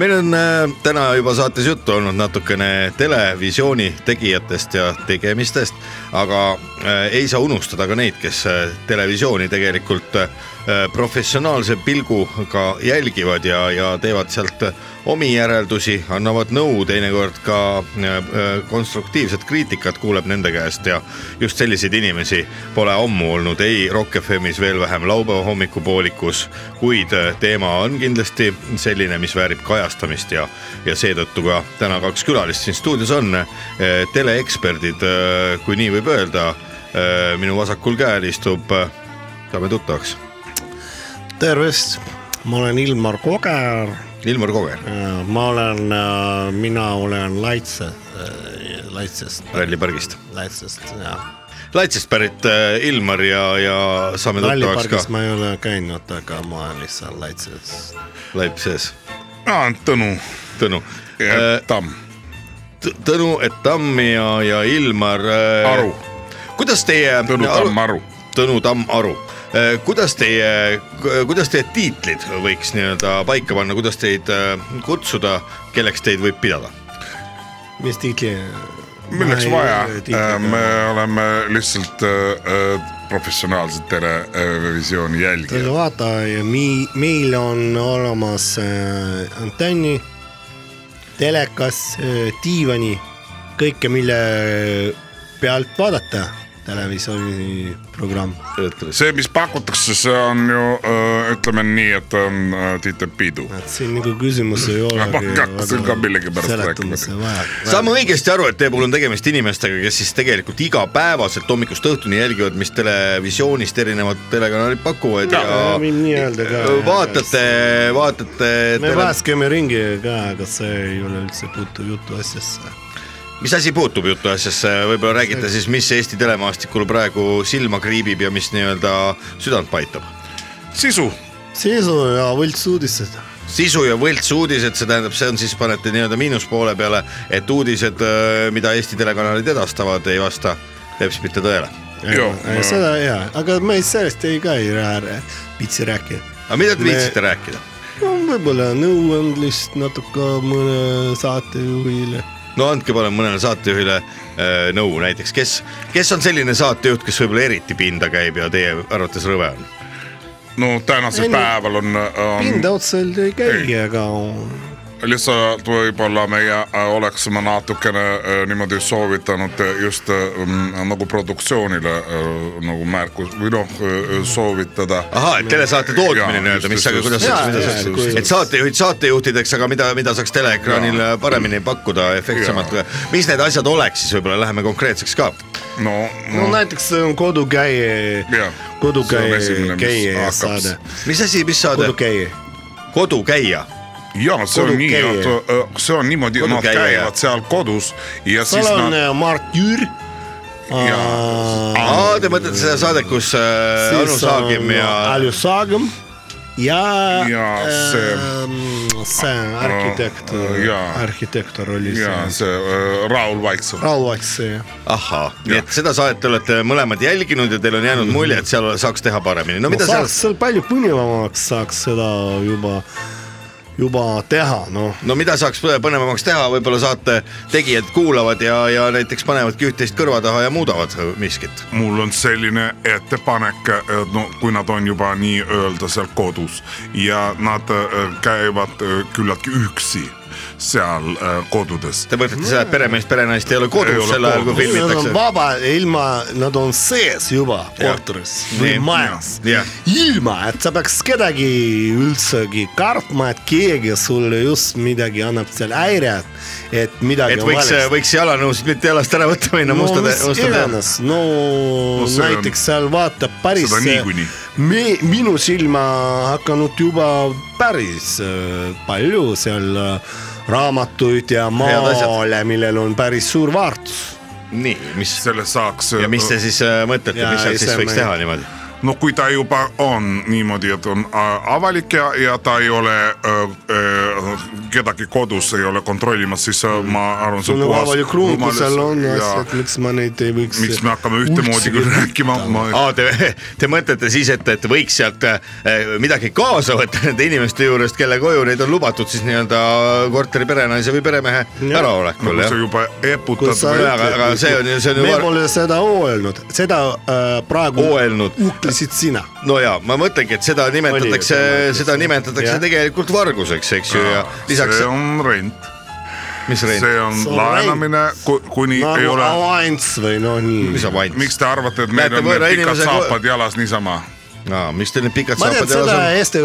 meil on äh, täna juba saates juttu olnud natukene televisiooni tegijatest ja tegemistest , aga äh, ei saa unustada ka neid , kes äh, televisiooni tegelikult äh, äh, professionaalse pilguga jälgivad ja , ja teevad sealt omi järeldusi , annavad nõu , teinekord ka äh, äh, konstruktiivset kriitikat kuuleb nende käest ja just selliseid inimesi pole ammu olnud ei Rock FM-is , veel vähem laupäeva hommikupoolikus , kuid äh, teema on kindlasti selline , mis väärib kajastamist ja , ja seetõttu ka täna kaks külalist siin stuudios on äh, teleeksperdid , kui nii võib öelda . minu vasakul käel istub äh, saame tuttavaks . tervist , ma olen Ilmar Koger , Ilmar Koger , ma olen , mina olen Laitse , Laitsest , rallipargist . Laitsest jah . Laitsest pärit äh, Ilmar ja , ja saame tuttavaks ka rallipargis ma ei ole käinud , aga ma olen lihtsalt Laitses . Laipses , Tõnu Tõnu . äh, ja Tamm . Tõnu , et Tammi ja , ja Ilmar . Aru. . kuidas teie . Tõnu Tamm . Aru . Tõnu Tamm Aru . kuidas teie , kuidas teie tiitlid võiks nii-öelda paika panna , kuidas teid äh, kutsuda , kelleks teid võib pidada ? mis tiitli ? milleks vaja , äh, me oleme lihtsalt äh, äh, professionaalsed televisiooni tulge jälgijad . vaata , meil on olemas äh, antenni , telekas äh, , diivani , kõike , mille pealt vaadata televisiooni programm . see , mis pakutakse , see on ju äh, ütleme nii , et on äh, Tiit Epidu . et siin nagu küsimus ei Ma olegi hakkasin ka millegipärast rääkima. saame rääkima . õigesti aru , et teie puhul on tegemist inimestega , kes siis tegelikult igapäevaselt hommikust õhtuni jälgivad , mis televisioonist erinevad telekanalid pakuvad ja, ja võime nii öelda ka . vaatate , vaatate me tele... , pääskeme ringi ka , aga see ei ole üldse puutuv jutu asjasse . mis asi puutub jutu asjasse , võib-olla räägite siis , mis Eesti telemaastikul praegu silma kriibib ja mis nii-öelda südant paitab . sisu , sisu ja võltsuudised sisu ja võltsuudised , see tähendab , see on siis panete nii-öelda miinuspoole peale , et uudised , mida Eesti telekanalid edastavad , ei vasta teps mitte tõele . Joo, Ei, seda jaa , aga me ei- sellest ei ka ei rää- , pitsi rääkida . aga mida te Me- viitsite rääkida ? no võib-olla nõuandlist natuke mõne saatejuhile . no andke palun mõnele saatejuhile äh, nõu näiteks , kes , kes on selline saatejuht , kes võib-olla eriti pinda käib ja teie arvates rõve on ? no tänasel Ei, päeval on, ähm, on pinda otseselt ei käigi , aga lihtsalt võib-olla meie äh, oleksime natukene äh, niimoodi soovitanud äh, just äh, mm, nagu produktsioonile äh, nagu märkus või noh äh, soovitada . ahaa , et telesaate tootmine Jaa, nii-öelda , just, mis , aga just, kuidas just, , mida just, saaks just, , et saatejuhid saatejuhtideks , aga mida , mida saaks teleekraanil paremini pakkuda efektsemalt , mis need asjad oleks siis võib-olla läheme konkreetseks ka . no, no näiteks see on kodukäie Jaa. , See on esimene, kodukäie , mis käie hakkab. saade , mis asi , mis saade ? kodukäie . kodukäija , ja see on nii , Kodukäija. see on niimoodi , nad Kodukäija, käivad jah. seal kodus ja seal siis on nad äh, Mart Jür . Äh, ja aa , te mõtlete seda saadet , kus äh, Anu Saagim ja Alju Saagim ja . Ja see- see arhitekt Jaa. , arhitektor oli ja see . see äh, Raul Vaiksoo . Raul Vaitse , ahhaa , nii et seda saadet te olete mõlemad jälginud ja teil on Mhm. jäänud mulje , et seal saaks teha paremini , no no, mida seal saaks seal palju põnevamaks saaks seda juba , juba teha , noh . no mida saaks põnevamaks teha , võib-olla saate tegijad kuulavad ja , ja näiteks panevadki üht-teist kõrva taha ja muudavad miskit . mul on selline ettepanek , et no kui nad on juba nii-öelda seal kodus ja nad äh, käivad äh, küllaltki üksi seal äh, kodudes . Te mõtlete seda , et peremees , perenaist ei ole kodus Ei ole sel ajal , kui kodus. Nad on filmitakse ? vaba ilma , nad on sees juba korteris või Nii. majas . jah , ilma , et sa peaks kedagi üldsegi kartma , et keegi sulle just midagi annab seal häiret , et midagi et võiks , võiks jalanõusid mitte jalast ära võtta minna no mustade , mis mustade . iganes , no No see on- näiteks seal vaatab päris äh, Seda niikuinii. , minu silma hakanud juba päris äh, palju seal äh, raamatuid ja maale , millel on päris suur väärtus . nii , mis selle saaks . ja mis te siis äh, mõtlete , Jaa, mis seal ei, siis see ma võiks ei- teha niimoodi ? no kui ta juba on niimoodi , et on äh, avalik ja , ja ta ei ole öö, öö, kedagi kodus ei ole kontrollimas , siis äh, ma arvan , see sul on on puhas . avalik ruum , kus seal on asjad , miks ma neid ei võiks . miks me hakkame ühtemoodi küll rääkima , ma aa , te , [LAUGHS] te mõtlete siis , et , et võiks sealt äh, midagi kaasa võtta [LAUGHS] nende inimeste juurest , kelle koju neid on lubatud siis nii-öelda korteri perenaise või peremehe Jah. kui äraolekul , jah nagu sa ? juba kui sa eputad . Jaa, aga- aga see on ju- see on ju me var- pole seda öelnud , seda äh, praegu Öelnud. ütlesid sina no ja ma mõtlengi , et seda nimetatakse tema ütles, seda jah. nimetatakse Jah. tegelikult varguseks , eks ju , ja lisaks see , on rent , mis Rein , see on See on laenamine , kuni nagu ei ole , avanss või no nii . mis sa vaid , miks te arvate , et meil Näete, on need võõra pikad inimesega- saapad jalas niisama ? miks teil need pikad ma tean saapad seda jalas on ? Eesti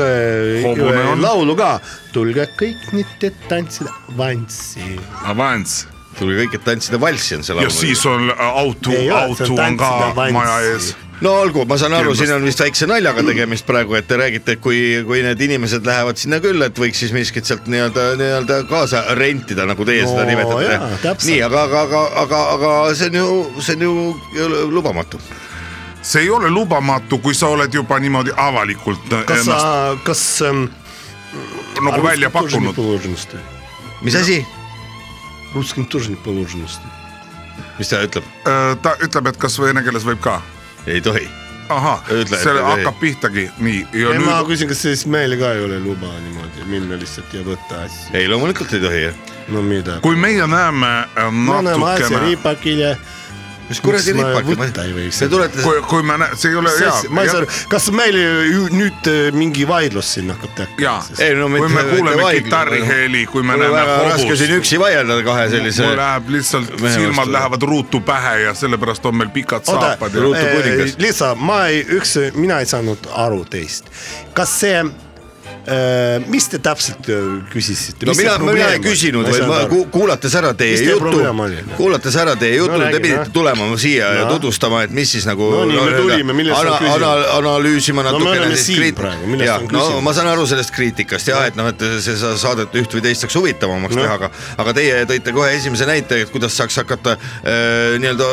Hobune äh, on. laulu ka . tulge kõik nüüd , et tantsida avanssi . avanss tulge kõik , et tantsida valssi on see ja laul . siis on äh, auto Ei , ole, see auto on on ka tantsida avanss. maja ees . no olgu , ma saan aru , Kindlasti. siin on vist väikse naljaga tegemist praegu , et te räägite , et kui , kui need inimesed lähevad sinna külla , et võiks siis miskit sealt nii-öelda , nii-öelda kaasa rentida , nagu teie seda No jaa, nimetate . täpselt. nii , aga , aga , aga , aga , aga see on ju , see on ju lubamatu . see ei ole lubamatu , kui sa oled juba niimoodi avalikult kas ennast sa sa... , kas ähm, . nagu välja pakkunud . mis asi , Русским тоже не положенности. mis ta ütleb ? Äh, ta ütleb , et kas vene keeles võib ka . ei tohi . ahah , Ütle, et see ei- hakkab pihtagi , nii ja ei , ei, ma nüüd küsin , kas siis meil ka ei ole luba niimoodi minna lihtsalt ja võtta asju . ei , loomulikult ei tohi . no mida . kui meie näeme äh, me anname asja natukene , riipakile . mis kuradi ripak võtta ei , võiks te ? tulete , kui , kui me näe- , see ei ole mis hea asja , ma ei saa , kas meil ju nüüd äh, mingi vaidlus siin hakkab jaa tekkima ?, Ei, no kui mitte- me mitte kuuleme vaidlus- kitarriheli , kui me mul on näeme väga raske siin hobust , üksi vaielda kahe sellise mul läheb lihtsalt , eh, mehe silmad vastu. eh, lähevad ruutu pähe ja sellepärast on meil pikad saapad ja Ruutu kuningas. äh, Liisa , ma ei , üks , mina ei saanud aru teist . kas see äh, , mis te täpselt äh, küsisite ? no mina , mina ei küsinud , vaid ma ku- kuulates ära teie Mis teie jutu probleem oli? , kuulates ära teie jutu No no, , te räägi, pidite noh. tulema siia no. ja No. tutvustama , et mis siis nagu No nii, me nii-öelda tulime, milles on ana- küsimus? ana- analüüsima me natukene oleme siin kriit- praegu, milles Jaa, on no küsimus? ma saan aru sellest kriitikast ja et noh , et see sa- saadet üht või teist saaks huvitavamaks teha , aga aga teie tõite kohe esimese näite , et kuidas saaks hakata äh, nii-öelda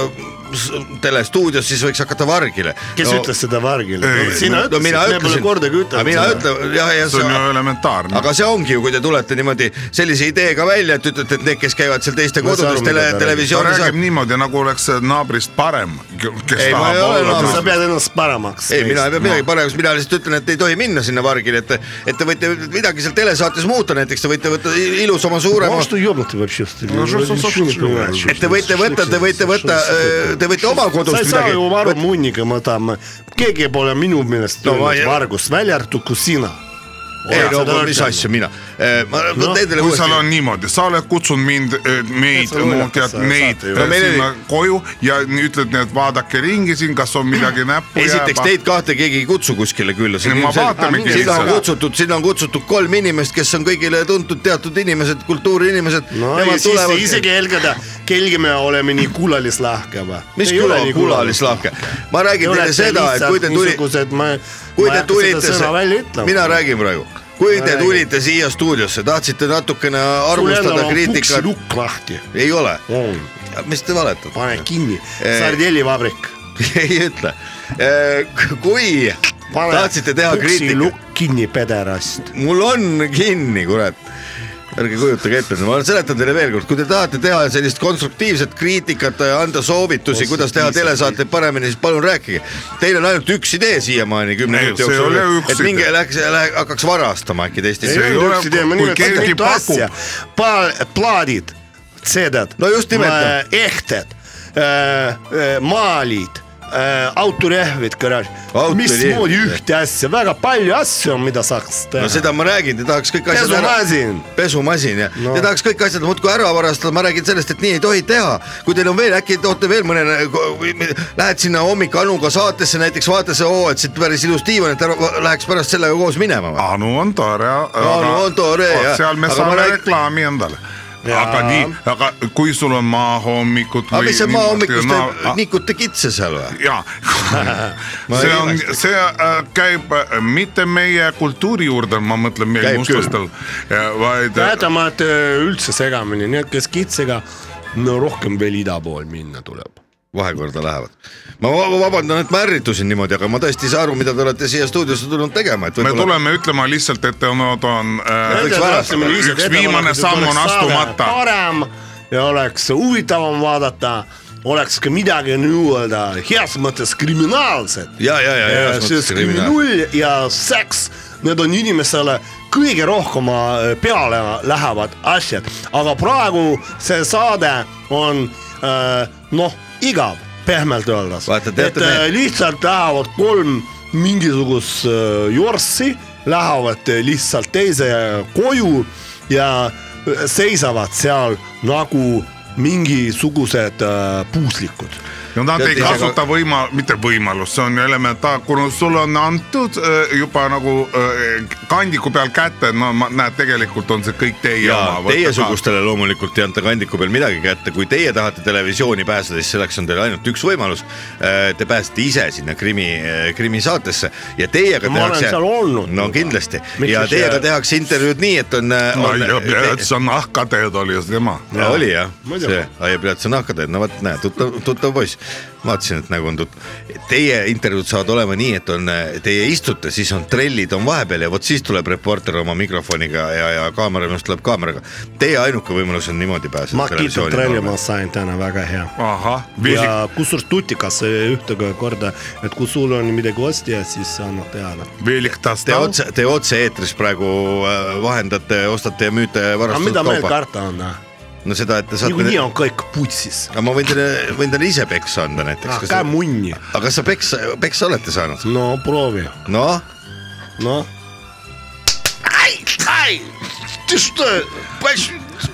s- telestuudios , siis võiks hakata vargile . kes no, ütles seda Vargile ? sina no ütlesid , me mina pole ütlesin , kordagi ütelnud . mina ütlen , jah , ja see on ju elementaarne . aga see ongi ju , kui te tulete niimoodi sellise ideega välja , et ütlete , et need , kes käivad seal teiste Ma ei saa kodudes aru, tele mida , ta ta televisioonis räägib . niimoodi , nagu oleks naabrist parem , kes Ei, ma ei tahab ole olla naabris- sa pead ennast paremaks . ei , mina ei pea midagi paremaks , mina lihtsalt ütlen , et ei tohi minna sinna vargile , et , et te võite midagi seal telesaates muuta , näiteks te võite võtta i- ilusama suurema Может, ты ёбнутый вообще, что ли? Ну, что, что, что, ничего не что, понимаю. что, et te võite võtta , te võite võtta , te võite oma sa ei kodust saa ju midagi . aru Munnikama tam , keegi pole minu meelest No ma öelnud ei- vargust , välja arvatud kui sina . ei no aga mis asja , mina , ma Noh, teedele kui seal on uuesti , niimoodi , sa oled kutsunud mind , meid Täitsa , lollakas tead sa- neid saate ju. äh, No meil oli- sinna koju ja nii ütled , nii et vaadake ringi siin , kas on midagi näppu esiteks Ah, teid kahte keegi ei kutsu kuskile külla . Ei, ma vaatamegi sinna on lihtsalt. kutsutud , sinna on kutsutud kolm inimest , kes on kõigile tuntud teatud inimesed , kultuuriinimesed . no ja siis te isegi helgada , kelgi me oleme nii kulalislahke või ? mis küla , külalislahke , ma räägin teile seda , et kui te tulite , niisugused , ma , kui ma ei te hakka seda tulite sõna , välja ütlema . mina räägin praegu , kui Ma te räägin. tulite siia stuudiosse , tahtsite natukene sul endal arvustada on puksi kriitikat , lukk lahti , ei ole , on , mis te valetate , pane kinni , Eh. sardellivabrik [LAUGHS] ei ütle , kui pane tahtsite teha puksi kriitikat , lukk kinni , pederast . mul on kinni , kurat ärge kujutage ette , ma seletan teile veel kord , kui te tahate teha sellist konstruktiivset kriitikat , anda soovitusi , kuidas teha telesaateid paremini , siis palun rääkige . Teil on ainult üks idee siiamaani kümne Ei, minuti see ei jooksul ole , üks et minge idee. läheks , hakkaks varastama äkki teist See ei ideed . ole- kui keegi pakub. plaadid , CD-d . No just nimelt. ehted , maalid , autorehvid , Autorehvid. mismoodi ühte asja , väga palju asju on , mida saaks teha no seda ma räägin , te tahaks kõik asjad ära , pesumasin , pesumasin ja no. No. te tahaks kõik asjad muudkui ära varastada , ma räägin sellest , et nii ei tohi teha . kui teil on veel , äkki toote veel mõne , lähed sinna hommik Anuga saatesse näiteks , vaata see oo , et siit päris ilus diivan , et ära, läheks pärast sellega koos minema või ? Anu on tore . Anu on tore, jah. seal me Aga saame ma räägin- reklaami endale . aga nii , aga kui sul on maahommikud aga mis see maahommikust na- teeb , nikute kitse seal või ? ah, jaa [LAUGHS] Ma , see ei on , imesta. see äh, käib äh, mitte meie kultuuri juurde , ma mõtlen meil Käib mustlastel , vaid . äh, jäätamad eh, üldse segamini , nii et kes kitsega , no rohkem veel ida pool minna tuleb . vahekorda lähevad . ma va- vabandan , et ma ärritusin niimoodi , aga ma tõesti ei saa aru , mida te olete siia stuudiosse tulnud tegema , et me võib-olla tuleme ütlema lihtsalt , et nad on äh, Võiks varastada. üks viimane samm on astumata . parem ja oleks huvitavam vaadata , oleks ka midagi nii-öelda heas mõttes kriminaalset . ja , ja , ja , ja , sest kriminaal ja seks , need on inimesele kõige rohkem äh, peale lähevad asjad , aga praegu see saade on äh, noh , igav pehmelt öeldes Vaata, teate, et äh, me- lihtsalt lähevad kolm mingisugust äh, jorssi , lähevad äh, lihtsalt teise koju ja äh, seisavad seal nagu mingisugused äh, puuslikud . no nad ei kasuta võima- , mitte võimalust , see on elementaar , kuna sulle on antud äh, juba nagu äh, kandiku peal kätte , no ma näed , tegelikult on see kõik teie ja oma . teiesugustele loomulikult ei anta kandiku peal midagi kätte , kui teie tahate televisiooni pääseda , siis selleks on teil ainult üks võimalus . Te pääsete ise sinna Krimmi , Krimmi saatesse ja teiega No ma olen tehakse seal olnud . no kindlasti Miks ja siis- teiega tehakse intervjuud nii , et on, äh, no on ja , ja see on nahkateed oli just tema . Ja oli jah , Muidugi. see aiapeatuse nahkatäit , no vot näe , tuttav , tuttav poiss . vaatasin , et nägu on tuttav . Teie intervjuud saavad olema nii , et on , teie istute , siis on trellid on vahepeal ja vot siis tuleb reporter oma mikrofoniga ja , ja kaamera minust tuleb kaameraga . Teie ainuke võimalus on niimoodi pääseda . Makita trelli ma sain täna väga hea . ahah , ja kusjuures tutikas äh, ühtegi korda , et kui sul on midagi ostja , siis sa annad teada . Veliktas Te otse , te otse-eetris praegu äh, vahendate , ostate ja müüte aga varastatud mida meil kaupa . karta on ? no seda , et te niikuinii saate . on kõik putsis . aga ma võin teile , võin teile ise peksa anda näiteks . hakka munni . aga kas sa peksa , peksa olete saanud ? no proovi , noh , noh .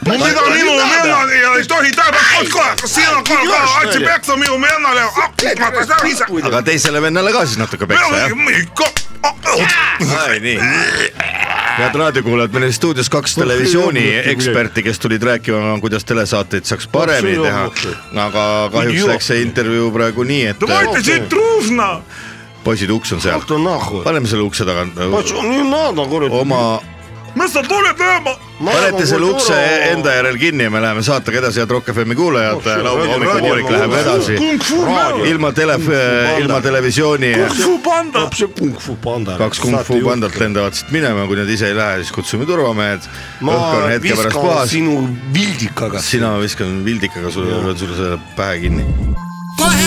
no mida minu vennal ja ei tohi tähendada , oot kohe , kas sina ka , ka andsid peksa minu vennale , ma tahan teha ise . aga teisele vennale ka siis natuke peksa jah ? ikka , ai nii . head raadiokuulajad , meil on stuudios kaks televisiooni eksperti , kes tulid rääkima , kuidas telesaateid saaks paremini teha . aga kahjuks läks see intervjuu praegu nii , et äh, siit truusna . poisid , uks on seal . Alto nahku . paneme selle ukse taga . nii nad on kuradi . oma , mis sa tuled lööma ? panete selle ukse enda järel kinni ja me läheme saatega edasi , head Rock FM-i kuulajad , laupäeva hommikupoolik läheb edasi . ilma tele , ilma televisiooni . su panda . hoopis Kung Fu Panda . kaks Kung Fu pandat . lendavad siit minema , kui nad ise ei lähe , siis kutsume turvamehed . õhk on ma hetke pärast viskan puhas . sinu vildikaga . sina viskan vildikaga sulle , löön sulle selle pähe kinni . kohe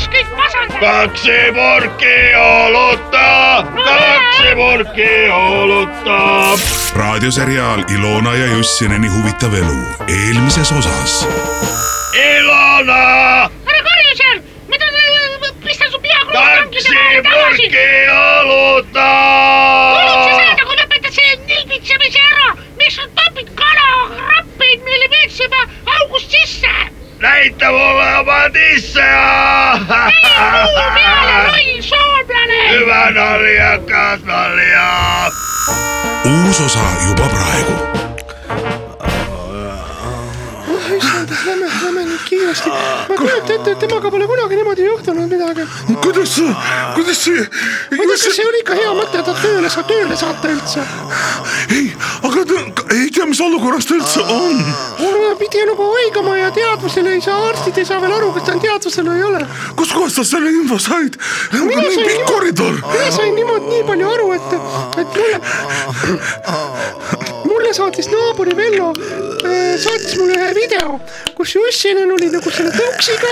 kõik masendanud . raadioseriaal Ilona ja Jussineni huvitav elu eelmises osas . ära karju seal , mida , pista su pea krokodillide vahele tagasi . olid sa seda , kui lõpetad selle nilbitsemise ära , miks sa topid kalarappeid meile veetsema august sisse ? näita mulle oma tisse . ei , muu peale , loll soomlane . uus osa juba praegu . Ah, kuidas see , kuidas see ? kuidas see oli ikka hea mõte , et ta tööle saab , tööle saata üldse ? ei , aga ta ei tea , mis olukorras ta üldse on . nagu koroonapidi nagu haigama ja teadvusele ei saa , arstid ei saa veel aru , kas ta on teadvusel või ei ole . kuskohast sa selle info said ? mingi pikk koridor . mina sain niimoodi nii palju aru , äh, nagu et , et mulle , mulle saatis naabrivello , saatis mulle ühe video , kus Jussinen oli nagu selle tõuksiga ,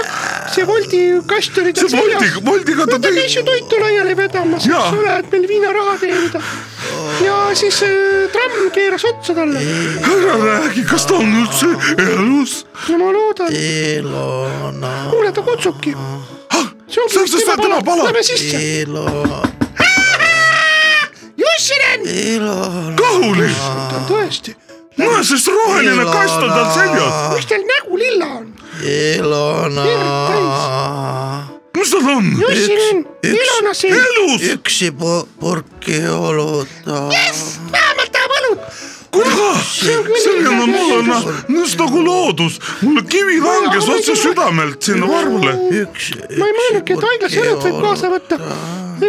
see Wolti kast oli tal seljas . Voldiga , Voldiga ta tõi . käis ju toitu laiali vedamas , eks ole , et meil viinaraha teenida . ja siis äh, tramm keeras otsa talle . ära räägi , kas ta on üldse elus ? no ma loodan . kuule , ta kutsubki . see see on siis see tema pala. Lähme sisse . Jussinen , kahuli , tõesti , näe , sest roheline kast on tal seljas . miks teil nägu lilla on ? Ilona . mis tal on ? Jussinen , Ilona siin , elus , üksi purki oluda . vähemalt tahab õlut . kuulge , selline midagi mul on , just nagu loodus , mul nagu kivi langes otse südamelt sinna varvule . ma ei mõelnudki , et haiglas õlut võib kaasa võtta .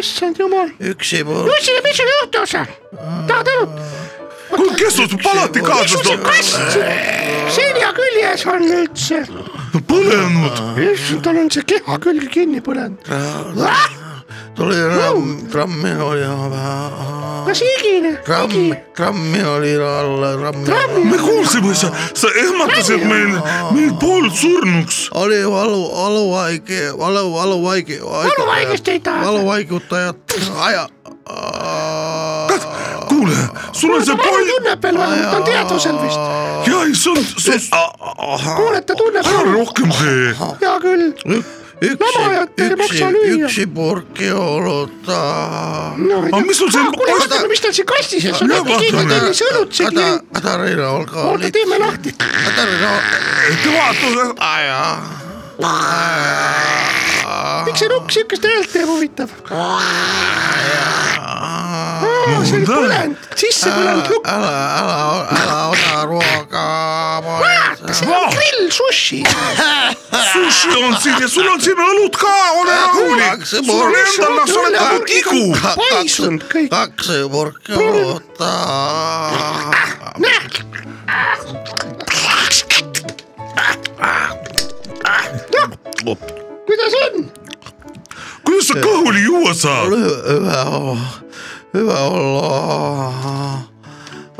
issand jumal . üksi purki . Jussinen , mis sul juhtus ? tahad õlut ? kuule , kes sul palati kaasas see on ? kast selja küljes on üldse . põlenud , issand , tal on see keha külge kinni põlenud . tuli enam trammi oli vaja . kas higine ? tramm , trammi oli alla , trammi . me kuulsime , sa , sa ehmatasid meil , meil pool surnuks . oli valu , valuvaige , valu , valuvaige . Valuvaigesteid tahad? valuvaigutajad , aja . kuule , sul on see Manu pall , tunneb veel vähemalt , ta on teadvusel vist . jaa , ei see on , see kuule , et ta tunneb on , ära . rohkem tee . hea küll , üksi , Lamajat ei üksi maksa , lüüa. üksi purki oluta . aga mis sul seal kuule , vaatame , mis tal siin kastis on , sul Jaa, on mingi vaatame. tellis õlut siin . Kadar , Kadarina , olge oota , teeme lahti . Kadarina , vaata , aja . miks see nukk siukest häält teeb , huvitav ? see oli põlend , sisse põlenud nukk . ära , ära , ära oda ruoga . see on grill sushi . sushi on siin ja sul on siin õlut ka , ole rahulik . sul endal , noh , sa oled nagu tigu . paisunud kõik . kaks purki oluta . näed , kuidas on ? kuidas sa kõhuli juua saad ? hüve , hüve olla ,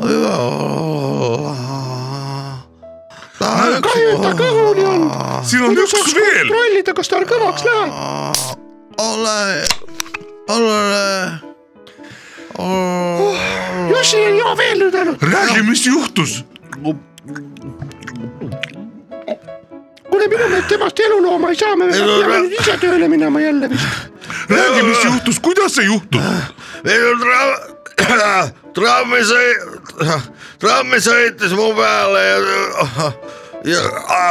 hüve olla . kahju , et tal kõhuni on . siin on üks veel . kontrollida , kas tal kõvaks läheb . ole , ole , ole . Jussi ei joo veel nüüd ainult . räägi , mis juhtus ? kuule , minu meelest temast elulooma ei saa , me peame nüüd ise tööle minema jälle vist . räägi , mis juhtus , kuidas see juhtus ? meil on [CLEARS THROAT] tramm , trammi sõi- , [CLEARS THROAT] trammi sõitis mu peale ja , ja ,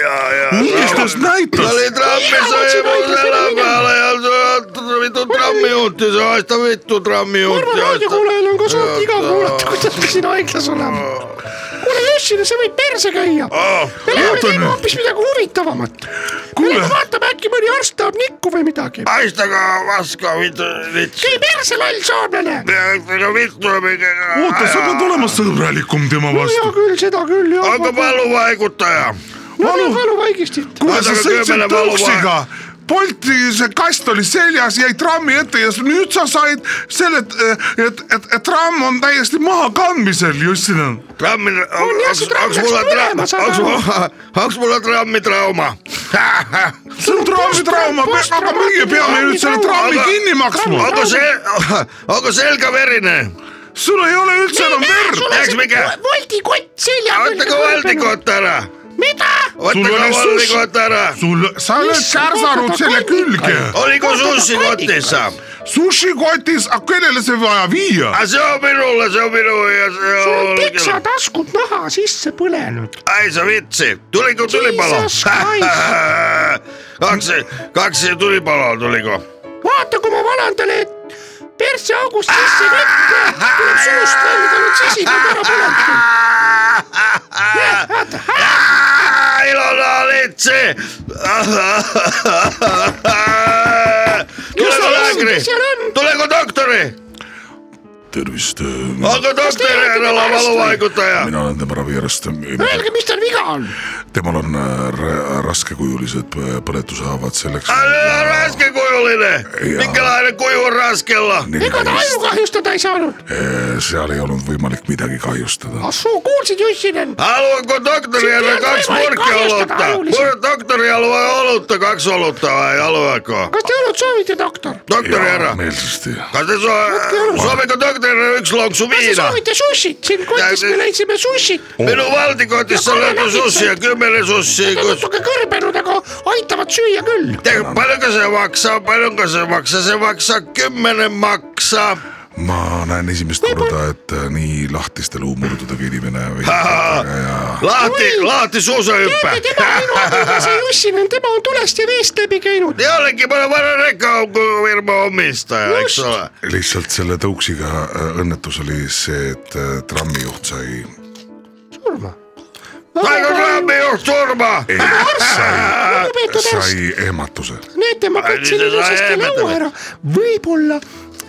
ja , ja . millistes näitas ? oli trammi sõi mu selja peale ja see mitu trammijuht ja see aasta mitu trammijuht Narva . raadiokuulajal on ka suht igav kuulata , kuidas me siin haiglas oleme . kuule , Jussile , sa võid perse käia . me läheme teeme hoopis midagi huvitavamat . me lähme vaatame , äkki mõni arst tahab nikku või midagi . haistaga vaska mitu , käi perse , loll soomlane . haistaga mitu . oota , sa pead olema sõbralikum tema no hea vastu . küll , seda küll jah . aga valuvaigutaja , no nii , valuvaigistit . kuule , sa Vaadake, sõitsid kümmene tõuksiga , Bolti see kast oli seljas , jäi trammi ette ja s- nüüd sa said selle , et , et , et tramm on täiesti mahakandmisel , Jussina . trammi , jah, see tramm hakkas läks mulle põlema, tramm , saad hakkas aru. mulle , [LAUGHS] hakkas mulle trammi trauma . see on trammi trauma , aga meie peame nüüd selle trammi kinni maksma . aga see , aga selga verine sul ei ole üldse enam verd . Läks mingi , voldikott selja . otage valdikott ära , mida ? otage oli sushi. valdikott ära . sul , sa oled kärsanud selle külge . oliko sushi kotis sa ? sushikotis , aga kellele see vaja viia ? aga see on minule , see on minu ja sul on see on . teksataskud naha sisse põlenud . ai sa vitsi , tuliku tulipalo Jesus . Christ. kaks , kaks tulipalo tuliku . vaata , kui ma valandan , et perseaugust sisse vette , tuleb suust välja , tal on sisikad ära põletatud . Ilona Litsi . tulegu laagri mis seal on? , tulegu doktori , tervist , aga doktor teie olete ei ole arst või? valuvaigutaja . mina olen tema raviarst . Öelge , mis tal viga on . temal on äh, ra- raskekujulised põ- põletushaavad selleks . Älä raskekujullinen! Minkälainen kuju on raskella? ega ta aju kahjustada ei saanud . seal ei olnud võimalik midagi kahjustada . ahsoo , kuulsid , Jussinen ? Haluanko doktori ja Sitten ei kaksi voi purkkia kahjasta olutta? taulullisen. Mun doktori haluaa olutta, kaksi olutta vai haluaako? kas te õlut soovite , doktor ? Doktori herra, meelsasti . kas te so- sooviko doktorille yksi lonksu kas te viina? soovite sushit ? siin kotis me leidsime sushit . Minun valtikotissa Ja löytyy kolme sussia, kymmenen sussia. Need on kun- natuke kõrbenud , aga aitavad süüa küll . Te- Paljonko se maksaa? Paljonko se maksaa? Se maksaa kymmenen maksaa. ma näen esimest korda , et äh, nii lahtiste luumurdudega inimene veidikene ja Lahti, Lahti suusa ympää. teate , tema on minu abikaasa Jussinen , tema on tulest ja veest läbi käinud . Jollekin mä olen varan rekkaukufirman omistaja, eikö se ole? lihtsalt selle tõuksiga äh, õnnetus oli see , et äh, trammijuht sai , surma . Aika kraami just surma! sai , lugupeetud arst , sai ehmatuse . näete , ma katsin Ai, siis ei saa ilusasti laua ehmatada. ära . võib-olla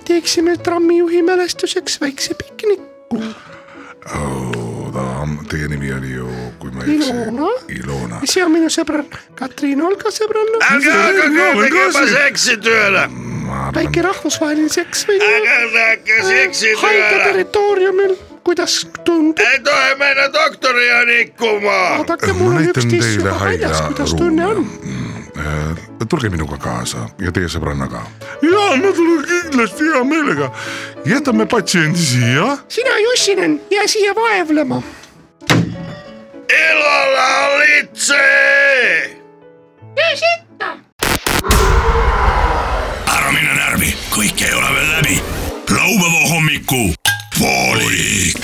teeksime trammijuhi mälestuseks väikse pikniku . ta , teie nimi oli ju , kui ma ei Ilona? eksi , Ilona . see on minu sõbrann , Katriin Olga sõbrann . Älkää alkako tekemässä seksityötä! ma arvan . väike rahvusvaheline seks või ? Aga näge, seksid ju haige ära. territooriumil , kuidas tundub ? ei tohi mennä doktoria nikkuma. vaadake , mul on üks Äh, näitan tiss teile juba väljas , kuidas haiglaruumi. tunne on ? tulge minuga kaasa ja teie sõbrannaga . ja ma tulen kindlasti hea meelega . jätame patsiendi siia . sina , Jussinen , jää siia vaevlema . Ilolla litse! töö sitta . ära mine närvi , kõik ei ole veel läbi . laupäeva hommiku poolik .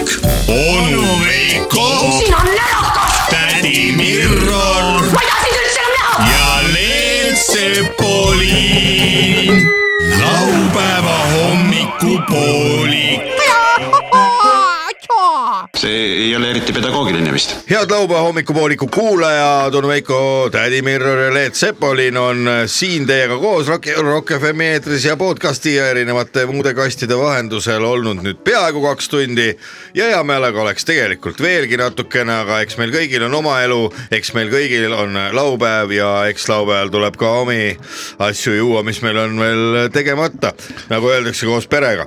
onu Veiko . sina närakas . tädi Mirro ma ei taha sind üldse enam näha . ja Leelsepoliin . laupäeva hommikupoolik . see ei ole eriti pedagoogiline vist . head laupäeva hommikupooliku kuulajad , on Veiko Tädi Mirror ja Leet Sepolin on äh, siin teiega koos Rock , Rock FM-i eetris ja podcast'i ja erinevate muude kastide vahendusel olnud nüüd peaaegu kaks tundi . ja hea meelega oleks tegelikult veelgi natukene , aga eks meil kõigil on oma elu , eks meil kõigil on laupäev ja eks laupäeval tuleb ka omi asju juua , mis meil on veel tegemata , nagu öeldakse koos perega .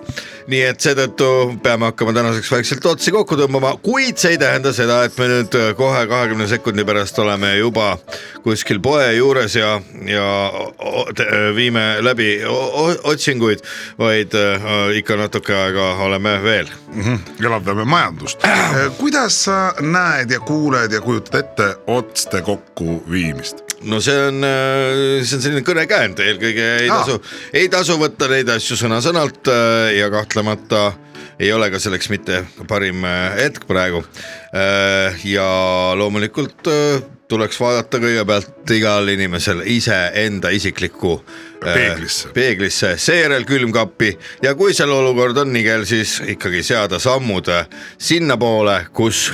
nii et seetõttu peame hakkama tänaseks vaikselt otsi kokku tõmbama , kuid see ei tähenda seda , et me nüüd kohe kahekümne sekundi pärast oleme juba kuskil poe juures ja , ja o- o- te- viime läbi o- o- otsinguid , vaid äh, ikka natuke aega oleme veel . elavdame majandust . kuidas sa näed ja kuuled ja kujutad ette otste kokkuviimist ? no see on , see on selline kõnekäänd , eelkõige ei Aa. tasu , ei tasu võtta neid asju sõna-sõnalt äh, ja kahtlemata ei ole ka selleks mitte parim äh, hetk praegu . ja loomulikult äh, tuleks vaadata kõigepealt igal inimesel iseenda isiklikku äh, Peeglisse. peeglisse , seejärel külmkappi ja kui seal olukord on nigel , siis ikkagi seada sammud äh, sinnapoole , kus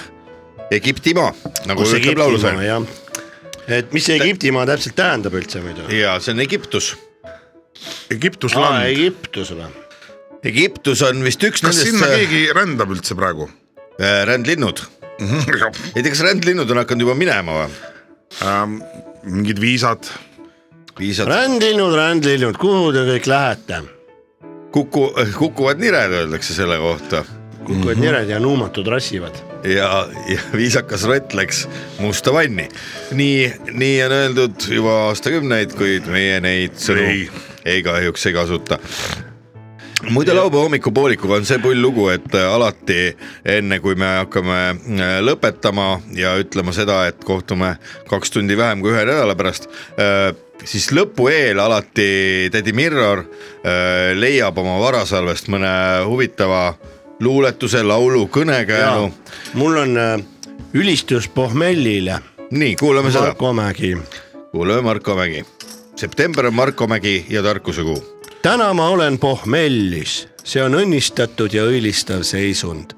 Egiptimaa , nagu kus ütleb laulusõnum Egiptimaa jah , et mis see Egiptimaa täpselt tähendab üldse muidu ? ja see on Egiptus . Egiptus aa , land . Egiptus või ? Egiptus on vist üks kas nendest sinna äh, keegi rändab üldse praegu ? äh, rändlinnud . ei tea , kas rändlinnud on hakanud juba minema või ? mingid viisad . viisad rändlinnud , rändlinnud , kuhu te kõik lähete ? kuku , kukuvad nired , öeldakse selle kohta kukuvad nired ja nuumatud rassivad . ja , ja viisakas rott läks musta vanni . nii , nii on öeldud juba aastakümneid , kuid meie neid sõnu ei, ei kahjuks ei kasuta muide , laupäeva hommikupoolikuga on see pull lugu , et äh, alati enne kui me hakkame äh, lõpetama ja ütlema seda , et kohtume kaks tundi vähem kui ühe nädala pärast , siis lõpu eel alati tädi Mirror äh, leiab oma varasalvest mõne huvitava luuletuse , laulu , kõnekäänu . mul on äh, ülistus Pohmellile . nii , kuulame seda . Marko Mägi . kuulame Marko Mägi . september on Marko Mägi ja tarkuse kuu . täna ma olen pohmellis , see on õnnistatud ja õilistav seisund .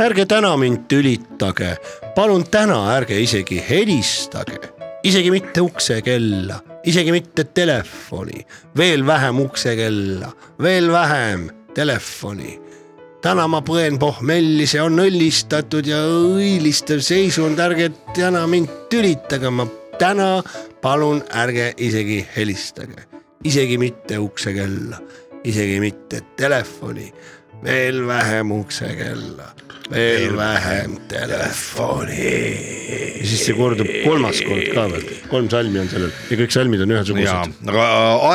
ärge täna mind tülitage , palun täna ärge isegi helistage , isegi mitte uksekella , isegi mitte telefoni , veel vähem uksekella , veel vähem telefoni . täna ma põen pohmelli , see on õllistatud ja õilistav seisund , ärge täna mind tülitage , ma täna palun ärge isegi helistage , isegi mitte uksekella , isegi mitte telefoni , veel vähem uksekella , veel vähem telefoni . ja siis see kordub kolmas kord ka veel , kolm salmi on sellel ja kõik salmid on ja ühesugused . aga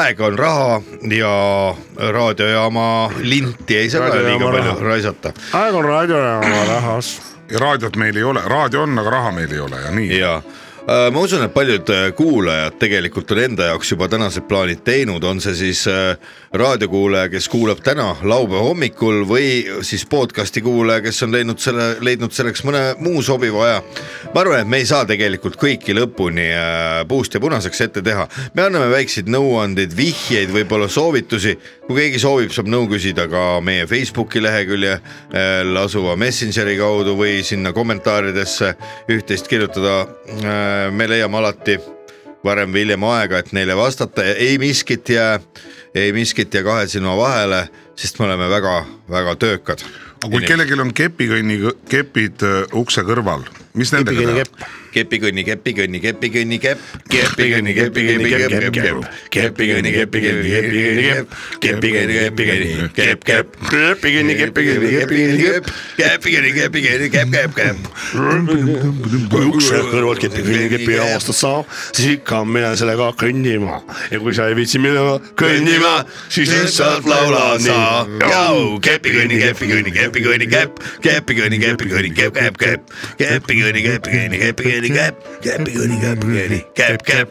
aega on raha ja raadiojaama linti ei saa ka liiga Raadiojaama palju raha. raisata . aeg on raadiojaama rahas . ja raadiot meil ei ole , raadio on , aga raha meil ei ole ja nii . ja äh, ma usun , et paljud äh, kuulajad tegelikult on enda jaoks juba tänased plaanid teinud , on see siis äh, raadiokuulaja , kes kuulab täna laupäeva hommikul või siis podcast'i kuulaja , kes on leidnud selle , leidnud selleks mõne muu sobiva aja . ma arvan , et me ei saa tegelikult kõiki lõpuni äh, puust ja punaseks ette teha , me anname väikseid nõuandeid , vihjeid , võib-olla soovitusi , kui keegi soovib , saab nõu küsida ka meie Facebooki leheküljel asuva Messengeri kaudu või sinna kommentaaridesse üht-teist kirjutada . me leiame alati varem või hiljem aega , et neile vastata , ei miskit jää , ei miskit jää kahe silma vahele , sest me oleme väga-väga töökad . aga kui kellelgi on kepikõnni , kepid äh, ukse kõrval , mis nendega Kepikõnni teha kepp. ? kepikõnni , kepikõnni , kepikõnni , kepp , kepikõnni , kepikõnni , kepp , kepp , kepp , kepikõnni , kepikõnni , kepikõnni , kepp , kepikõnni , kepikõnni , kepp , kepp , kepikõnni , kepikõnni , kepikõnni , kepp , kepikõnni , kepikõnni , kepp , kepp , kepp . kui üks kõrvalt kepikõnni kepi avastad sa , siis ikka mine sellega kõndima ja kui sa ei viitsi minema kõndima , siis lihtsalt laula sa . nii . kepikõnni , kepikõnni , kepikõnni , kepp , kepikõnni , kepikõnni , kepp , kepp , kepp , kepikõnni , kepikõnni , kepikõnni , kepp , kepikõnni , kepikõnni , kepp , kepp .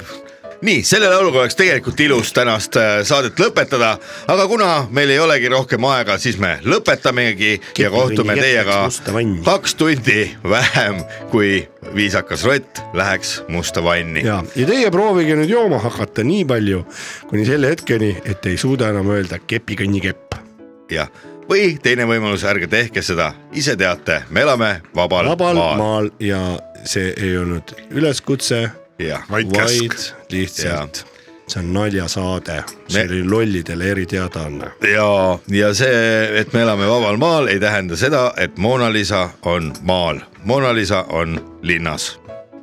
nii , selle lauluga oleks tegelikult ilus tänast äh, saadet lõpetada , aga kuna meil ei olegi rohkem aega , siis me lõpetamegi ja kohtume kepp teiega läks musta vanni. kaks tundi vähem , kui viisakas rott läheks musta vanni . ja , ja teie proovige nüüd jooma hakata nii palju kuni selle hetkeni , et ei suuda enam öelda kepikõnni kepp . jah , või teine võimalus , ärge tehke seda , ise teate , me elame vabal, vabal maal . maal ja see ei olnud üleskutse , jah , vaid lihtsalt see on naljasaade , see oli lollidele eriteadaanne . ja , ja see , et me elame vabal maal , ei tähenda seda , et Mona Lisa on maal . Mona Lisa on linnas .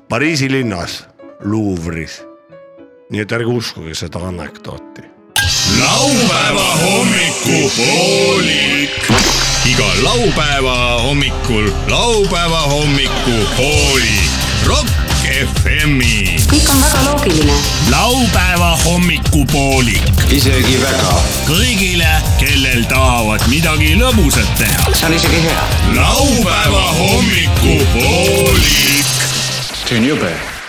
Pariisi linnas , Louvre'is . nii et ärge uskuge seda anekdooti . laupäeva hommikupoolik . iga laupäeva hommikul laupäeva hommikupoolik . Rock FM-i . kõik on väga loogiline . laupäeva hommikupoolik . isegi väga . kõigile , kellel tahavad midagi lõbusat teha . see on isegi hea . laupäeva hommikupoolik . see on jube